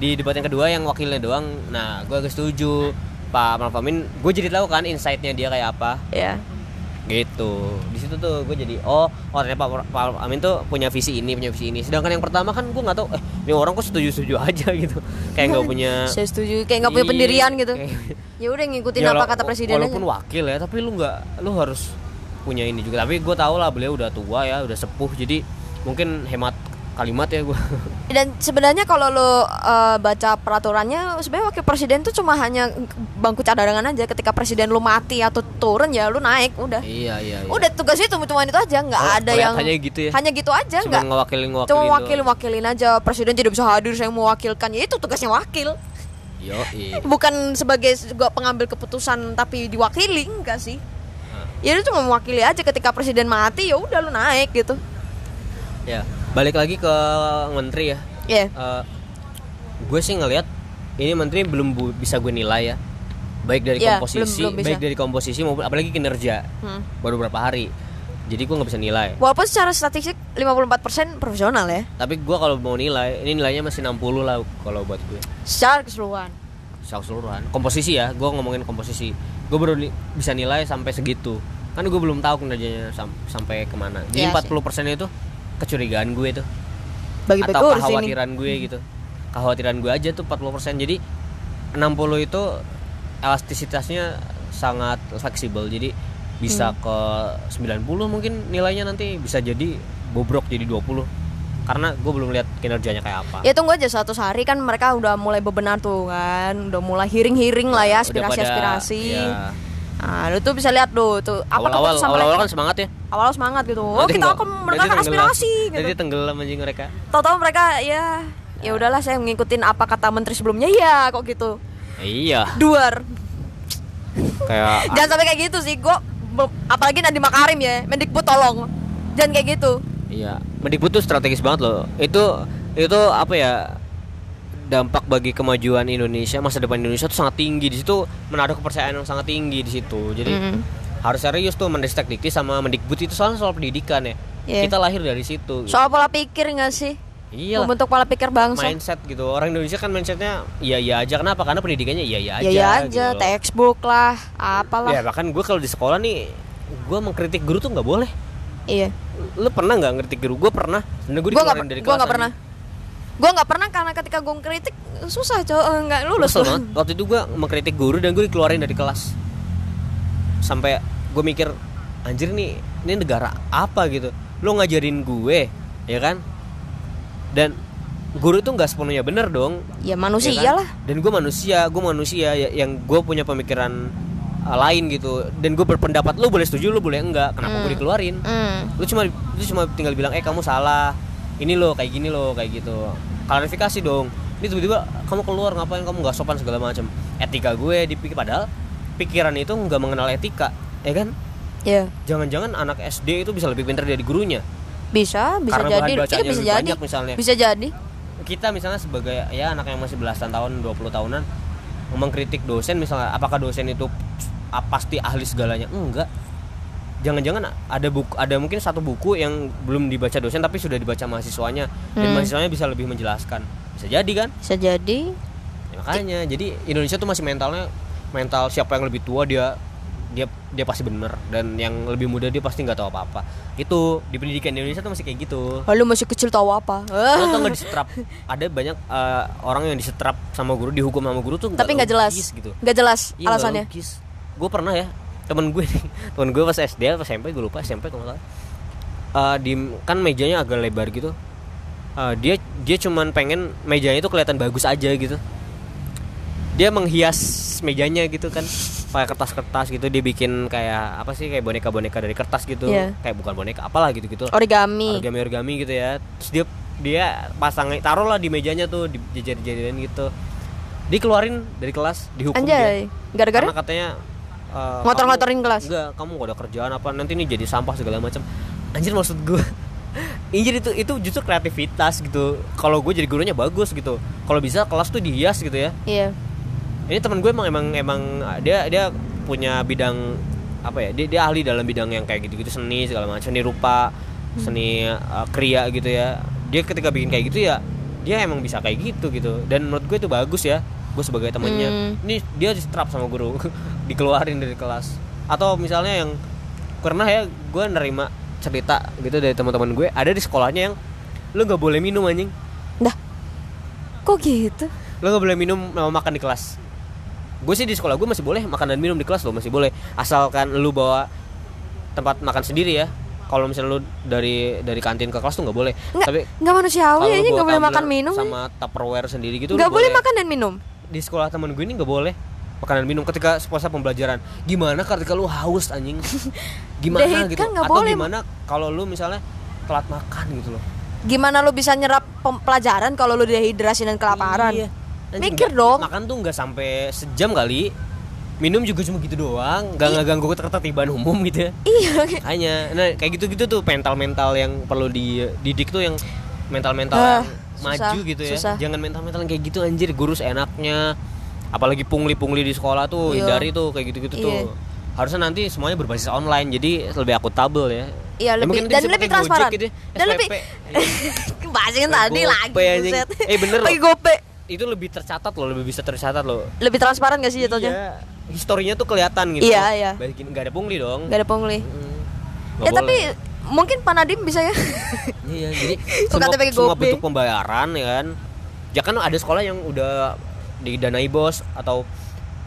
B: di debat yang kedua yang wakilnya doang nah gue agak setuju Pak Maruf Amin gue jadi tahu kan insightnya dia kayak apa
A: ya
B: gitu di situ tuh gue jadi oh oh ternyata Pak Mar- Pak Maruf Amin tuh punya visi ini punya visi ini sedangkan yang pertama kan gue nggak tahu eh ini orang kok setuju setuju aja gitu kayak nggak punya
A: saya setuju kayak nggak punya
B: Iya,
A: pendirian gitu
B: kayak-
A: ya udah ngikutin
B: Ya,
A: apa
B: wala-
A: kata presiden aja
B: walaupun wakil ya tapi lu nggak lu harus punya ini juga tapi gue tau lah beliau udah tua ya udah sepuh jadi mungkin hemat kalimat ya gue
A: dan sebenarnya kalau lo uh, baca peraturannya sebenarnya wakil presiden tuh cuma hanya bangku cadangan aja ketika presiden lo mati atau turun ya lo naik udah
B: Iya iya. iya.
A: udah tugasnya cuma cuma itu aja nggak
B: Oh,
A: ada yang
B: kelihatannya gitu ya?
A: hanya gitu aja
B: Cuma
A: nggak
B: ngewakilin ngewakilin.
A: cuma wakil wakilin aja presiden tidak bisa hadir saya mewakilkan ya itu tugasnya wakil
B: Yo iya.
A: bukan sebagai juga pengambil keputusan tapi diwakili enggak sih ya itu cuma mewakili aja ketika presiden mati ya udah lu naik gitu
B: Ya balik lagi ke menteri ya.
A: ya
B: Eh, gue sih ngelihat ini menteri belum bu- bisa gue nilai ya. Baik dari
A: Iya,
B: komposisi,
A: belum- belum bisa.
B: baik dari komposisi maupun apalagi kinerja.
A: Hmm.
B: Baru berapa hari. Jadi gue nggak bisa nilai.
A: walaupun secara statistik 54% profesional ya
B: Tapi gue kalau mau nilai, ini nilainya masih 60 lah kalau buat gue.
A: secara keseluruhan
B: secara keseluruhan komposisi ya gue ngomongin komposisi gue baru ni- bisa nilai sampai segitu kan gue belum tahu kinerjanya sam- sampai kemana jadi
A: Iya
B: 40 itu kecurigaan gue tuh
A: bagi
B: atau
A: PKUR sini
B: kekhawatiran gue gitu kekhawatiran gue aja tuh 40 jadi 60 itu elastisitasnya sangat fleksibel jadi
A: Hmm.
B: bisa ke 90 mungkin nilainya nanti bisa jadi bobrok jadi 20 karena gue belum lihat kinerjanya kayak apa
A: ya tunggu aja satu hari kan mereka udah mulai bebenah tuh kan udah mulai hiring-hiring lah ya
B: Iya, Udah pada-
A: aspirasi-aspirasi
B: iya.
A: nah lu tuh bisa lihat tuh tuh apa
B: awal-awal
A: keputusan
B: awal-awal
A: mereka
B: kan semangat ya
A: awal semangat gitu oh
B: Nanti
A: kita
B: nggak-
A: akan
B: nanti
A: mendengarkan
B: tenggelam.
A: aspirasi gitu
B: Nanti tenggelam anjing mereka.
A: tahu-tahu mereka ya ya
B: Ah.
A: udahlah saya Iya, ngikutin apa kata menteri sebelumnya ya kok gitu
B: Iya.
A: duar
B: kayak
A: Jangan sampai kayak gitu sih. Gua bel- apalagi Nadiem Makarim ya. Mendikbud tolong. Jangan kayak gitu.
B: Iya, Mendikbud tuh strategis banget loh. Itu itu apa ya? Dampak bagi kemajuan Indonesia, masa depan Indonesia tuh sangat tinggi di situ, menaruh kepercayaan yang sangat tinggi di situ. Jadi
A: Mm.
B: harus serius tuh mendestek dikti sama Mendikbud itu soal soal pendidikan ya.
A: Iya.
B: Kita lahir dari situ.
A: Soal pola pikir nggak sih?
B: Iya.
A: Membentuk pola pikir bangsa.
B: Mindset gitu. Orang Indonesia kan mindsetnya iya iya aja. Kenapa? Karena pendidikannya iya iya aja.
A: ya ya aja,
B: gitu loh.
A: textbook lah, apalah.
B: Ya bahkan gue kalau di sekolah nih, gue mengkritik guru tuh nggak boleh.
A: Iya.
B: Lu pernah nggak ngeritik guru? Gue pernah. Sebenernya gue
A: Gua nggak
B: dikeluarin dari
A: per- gua nggak
B: kelasan
A: pernah. Gua nggak pernah karena ketika gua kritik susah cowok eh, nggak lulus
B: Kesel
A: tuh.
B: banget. Waktu itu gue mengkritik guru dan gue dikeluarin dari kelas. Sampai gue mikir, anjir nih, ini negara apa gitu? Lo ngajarin gue, ya kan? Dan guru itu nggak sepenuhnya bener dong.
A: Ya manusia
B: ya kan?
A: iyalah.
B: Dan gue manusia, gue manusia ya- yang gue punya pemikiran uh, lain gitu. Dan gue berpendapat, lo boleh setuju, lo boleh enggak. Kenapa gue dikeluarin?
A: Hmm.
B: Lu cuma lu cuma tinggal bilang, eh kamu salah. Ini lo kayak gini lo kayak gitu. Klarifikasi dong. Ini tiba-tiba kamu keluar ngapain kamu nggak sopan segala macam. Etika gue dipikir padahal pikiran itu nggak mengenal etika, ya kan?
A: Ya
B: Jangan-jangan anak SD itu bisa lebih pintar dari gurunya.
A: bisa bisa
B: Karena
A: jadi.
B: bahan
A: Iya,
B: bacaannya
A: bisa
B: lebih
A: jadi.
B: banyak misalnya.
A: Bisa jadi.
B: kita misalnya sebagai ya anak yang masih belasan tahun 20 tahunan mengkritik dosen misalnya apakah dosen itu ah, pasti ahli segalanya enggak jangan-jangan ada buku ada mungkin satu buku yang belum dibaca dosen tapi sudah dibaca mahasiswanya
A: Hmm.
B: dan mahasiswanya bisa lebih menjelaskan bisa jadi kan
A: Bisa jadi.
B: Ya, makanya jadi Indonesia tuh masih mentalnya mental siapa yang lebih tua dia dia dia pasti bener dan yang lebih muda dia pasti nggak tahu apa-apa itu di pendidikan Indonesia tuh masih kayak gitu
A: Lalu masih kecil tahu apa? Eh,
B: lo tau nggak disetrap ada banyak eh, orang yang disetrap sama guru dihukum sama guru tuh
A: Tapi nggak jelas.
B: logis gitu
A: Nggak jelas
B: Iya, nggak
A: alasannya.
B: logis. gue pernah ya temen gue nih temen gue pas SD pas SMP gue lupa SMP kalau nggak salah Eh, di kan mejanya agak lebar gitu Eh, dia dia cuman pengen mejanya itu kelihatan bagus aja gitu dia menghias mejanya gitu kan pakai kertas-kertas gitu dia bikin kayak apa sih kayak boneka-boneka dari kertas gitu
A: Iya. Oh,
B: kayak bukan boneka apalah gitu gitu
A: Origami.
B: origami origami gitu ya terus dia dia pasang taruh lah di mejanya tuh di jajar-jajaran gitu dikeluarin dari kelas dihukum
A: Anjay.
B: dia
A: Gara-gara
B: karena kan- katanya eh,
A: Ngotor-ngotorin
B: kamu-
A: kelas?
B: enggak kamu gak ada kerjaan apa nanti ini jadi sampah segala macam anjir maksud gue Anjir itu itu justru kreativitas gitu. Kalau gue jadi gurunya bagus gitu. Kalau bisa kelas tuh dihias gitu ya
A: Iya.
B: ini teman gue emang emang emang dia dia punya bidang apa ya dia, dia ahli dalam bidang yang kayak gitu gitu seni segala macam seni rupa seni uh, kriya gitu ya dia ketika bikin kayak gitu ya dia emang bisa kayak gitu gitu dan menurut gue itu bagus ya gue sebagai temennya
A: Hmm.
B: ini dia distrap sama guru dikeluarin dari kelas atau misalnya yang pernah ya gue nerima cerita gitu dari teman-teman gue ada di sekolahnya yang lu nggak boleh minum anjing
A: Dah. Kok gitu?
B: lo nggak boleh minum mau makan di kelas gue sih di sekolah gue masih boleh makan dan minum di kelas lo masih boleh asalkan lu bawa tempat makan sendiri ya kalau misalnya lu dari dari kantin ke kelas tuh nggak boleh
A: Nggak,
B: tapi
A: nggak manusiawi
B: kalau
A: aja
B: lu bawa
A: nggak boleh
B: tumbler
A: makan minum.
B: sama tupperware sendiri gitu lu
A: Nggak boleh makan dan minum.
B: di sekolah temen gue ini nggak boleh makan dan minum ketika puasa pembelajaran gimana ketika lu haus anjing gimana
A: Deh,
B: gitu
A: kan nggak
B: atau
A: boleh.
B: gimana kalau lu misalnya telat makan gitu loh
A: Gimana lu bisa nyerap pem- pelajaran kalau lu dehidrasi dan kelaparan?
B: Iya. Anjing,
A: Mikir
B: nggak-
A: dong.
B: Makan tuh nggak sampai sejam kali. Minum juga cuma gitu doang, nggak ngeganggu ketertiban umum gitu ya.
A: Iya.
B: Hanya, nah kayak gitu-gitu tuh mental-mental yang perlu dididik tuh yang mental-mental
A: Ah,
B: yang
A: susah,
B: maju gitu ya.
A: susah.
B: Jangan mental-mental yang kayak gitu anjir, guru enaknya. Apalagi pungli-pungli di sekolah tuh
A: Iya.
B: hindari tuh kayak
A: Iya.
B: gitu-gitu tuh. Harusnya nanti semuanya berbasis online, jadi lebih akuntabel ya.
A: Iya,
B: Ya,
A: lebih
B: mungkin nanti
A: dan
B: seperti
A: lebih
B: Gojek
A: transparan.
B: gitu ya,
A: dan lebih
B: SPP.
A: Kebasingan tadi
B: Ya, Gope,
A: lagi.
B: anjing.
A: buset.
B: Eh, bener loh.
A: Pakai gope.
B: Itu lebih tercatat loh, lebih bisa tercatat loh.
A: Lebih transparan gak sih jatuhnya?
B: Iya, historinya tuh kelihatan gitu.
A: Iya, iya.
B: Balikin nggak ada pungli dong.
A: Gak ada pungli.
B: Mm,
A: Ya
B: nggak
A: tapi
B: boleh.
A: mungkin Pak Nadiem bisa ya.
B: iya jadi
A: Suka
B: semua,
A: pakai
B: semua
A: GoPay.
B: bentuk pembayaran ya kan. Ya kan ada sekolah yang udah didanai bos atau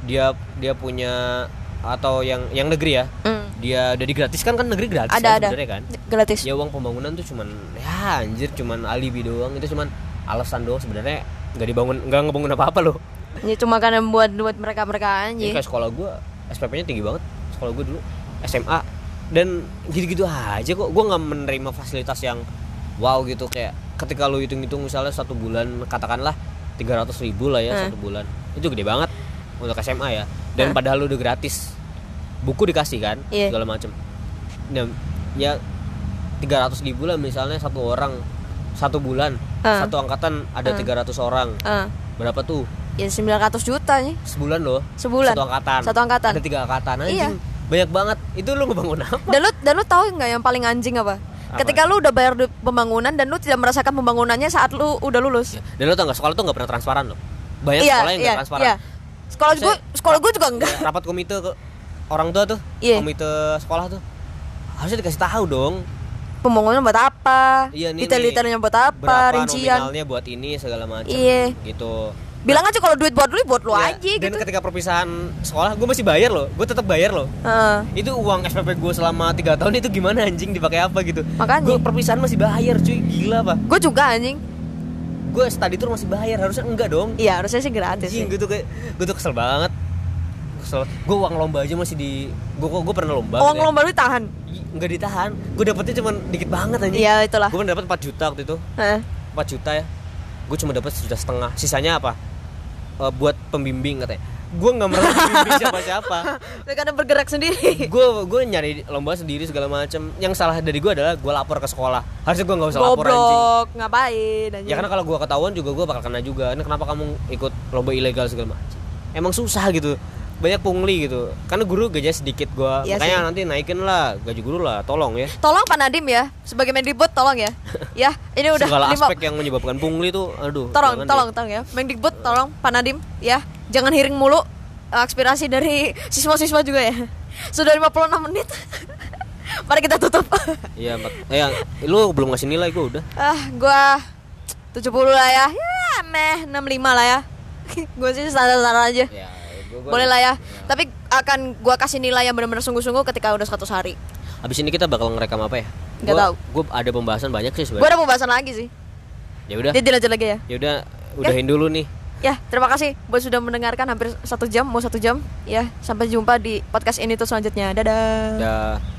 B: dia dia punya atau yang yang negeri ya.
A: Hmm,
B: Dia udah digratiskan kan negeri gratis
A: ada
B: kan
A: ada.
B: sebenarnya kan.
A: Gratis.
B: Ya uang pembangunan tuh cuman ya anjir cuman alibi doang itu cuman alasan doang sebenarnya nggak dibangun nggak ngebangun apa-apa loh.
A: Ini Ya, cuma karena buat buat mereka-mereka
B: Ini
A: aja.
B: kayak sekolah gue SPP-nya tinggi banget sekolah gue dulu SMA dan gitu-gitu aja kok gue nggak menerima fasilitas yang wow gitu kayak ketika lo hitung-hitung misalnya satu bulan katakanlah 300 ribu lah ya
A: Hmm.
B: satu bulan itu gede banget untuk SMA ya dan padahal lo udah gratis buku dikasih kan
A: Iya.
B: segala macam ya, ya 300 ribu lah misalnya satu orang satu bulan
A: Ah.
B: satu angkatan ada 300 orang
A: Ah,
B: berapa tuh
A: ya 900 juta nih
B: sebulan loh
A: Sebulan.
B: satu angkatan
A: Satu angkatan.
B: ada tiga angkatan anjing
A: Iya.
B: banyak banget itu lu ngebangun apa
A: dan lu dan lu tahu nggak yang paling anjing apa?
B: Apa?
A: ketika lu udah bayar duit pembangunan dan lu tidak merasakan pembangunannya saat lu udah lulus Iya,
B: dan lu tau nggak sekolah tuh nggak pernah transparan loh banyak Ya, sekolah yang nggak transparan
A: sekolah gue sekolah gue juga enggak
B: Ya, rapat komite ke orang tua tuh
A: Iya.
B: komite sekolah tuh harusnya dikasih tahu dong
A: pembangunan buat apa
B: Iya, nih,
A: detail-detailnya buat apa
B: berapa
A: rincian
B: nominalnya buat ini segala macam
A: Iya.
B: gitu
A: bilang aja kalau duit buat lu buat lu
B: Iya,
A: aja gitu
B: dan ketika perpisahan sekolah gue masih bayar loh gue tetap bayar loh
A: Heeh.
B: itu uang SPP gue selama tiga tahun itu gimana anjing dipakai apa gitu
A: Makanya.
B: gue perpisahan masih bayar cuy gila pak
A: gue juga anjing
B: gue study tour masih bayar harusnya enggak dong
A: iya harusnya sih gratis sih.
B: anjing gue tuh kayak gue tuh kesel banget kesel gue uang lomba aja masih di gue gue pernah lomba
A: uang
B: gitu ya.
A: lomba lu tahan
B: Ih, nggak ditahan gue dapetnya cuma dikit banget anjing
A: iya itulah
B: gue dapat 4 juta waktu itu
A: Heeh.
B: 4 juta ya gue cuma dapat sudah setengah sisanya apa Eh, buat pembimbing katanya gue nggak merasa pembimbing siapa siapa
A: Lu karena bergerak sendiri
B: gue gue nyari lomba sendiri segala macam yang salah dari gue adalah gue lapor ke sekolah harusnya gue nggak usah lapor anjing
A: goblok ngapain anjing
B: ya karena kalau gue ketahuan juga gue bakal kena juga ini kenapa kamu ikut lomba ilegal segala macam emang susah gitu banyak pungli gitu karena guru gajinya sedikit gue
A: Iya
B: makanya
A: sih.
B: nanti naikin lah gaji guru lah tolong ya
A: tolong Pak Nadim ya sebagai Mendikbud tolong ya ya ini udah
B: segala
A: lima
B: aspek ya, yang menyebabkan pungli tuh aduh
A: tolong
B: jangan deh.
A: tolong tolong ya Mendikbud tolong Pak Nadim ya jangan hiring mulu eh, aspirasi dari siswa-siswa juga ya sudah 56 menit mari kita tutup
B: Iya, Mat. eh, yang- lu belum ngasih nilai gue udah.
A: ah gua 70 lah ya ya meh 65 lah ya gue sih standar-standar aja
B: Ya,
A: boleh lah ya tapi akan gua kasih nilai yang benar-benar sungguh-sungguh ketika udah 100 hari
B: Abis ini kita bakal ngerekam apa ya?
A: Nggak
B: Gua-
A: tahu.
B: Gua ada pembahasan banyak sih
A: gua
B: sebenarnya.
A: ada pembahasan lagi sih
B: Ya udah,
A: dia dilanjut lagi ya
B: ya udah, udahin dulu nih.
A: Ya, terima kasih buat sudah mendengarkan hampir satu jam, mau satu jam. Ya, sampai jumpa di podcast ini tuh selanjutnya. Dadah.
B: Dah.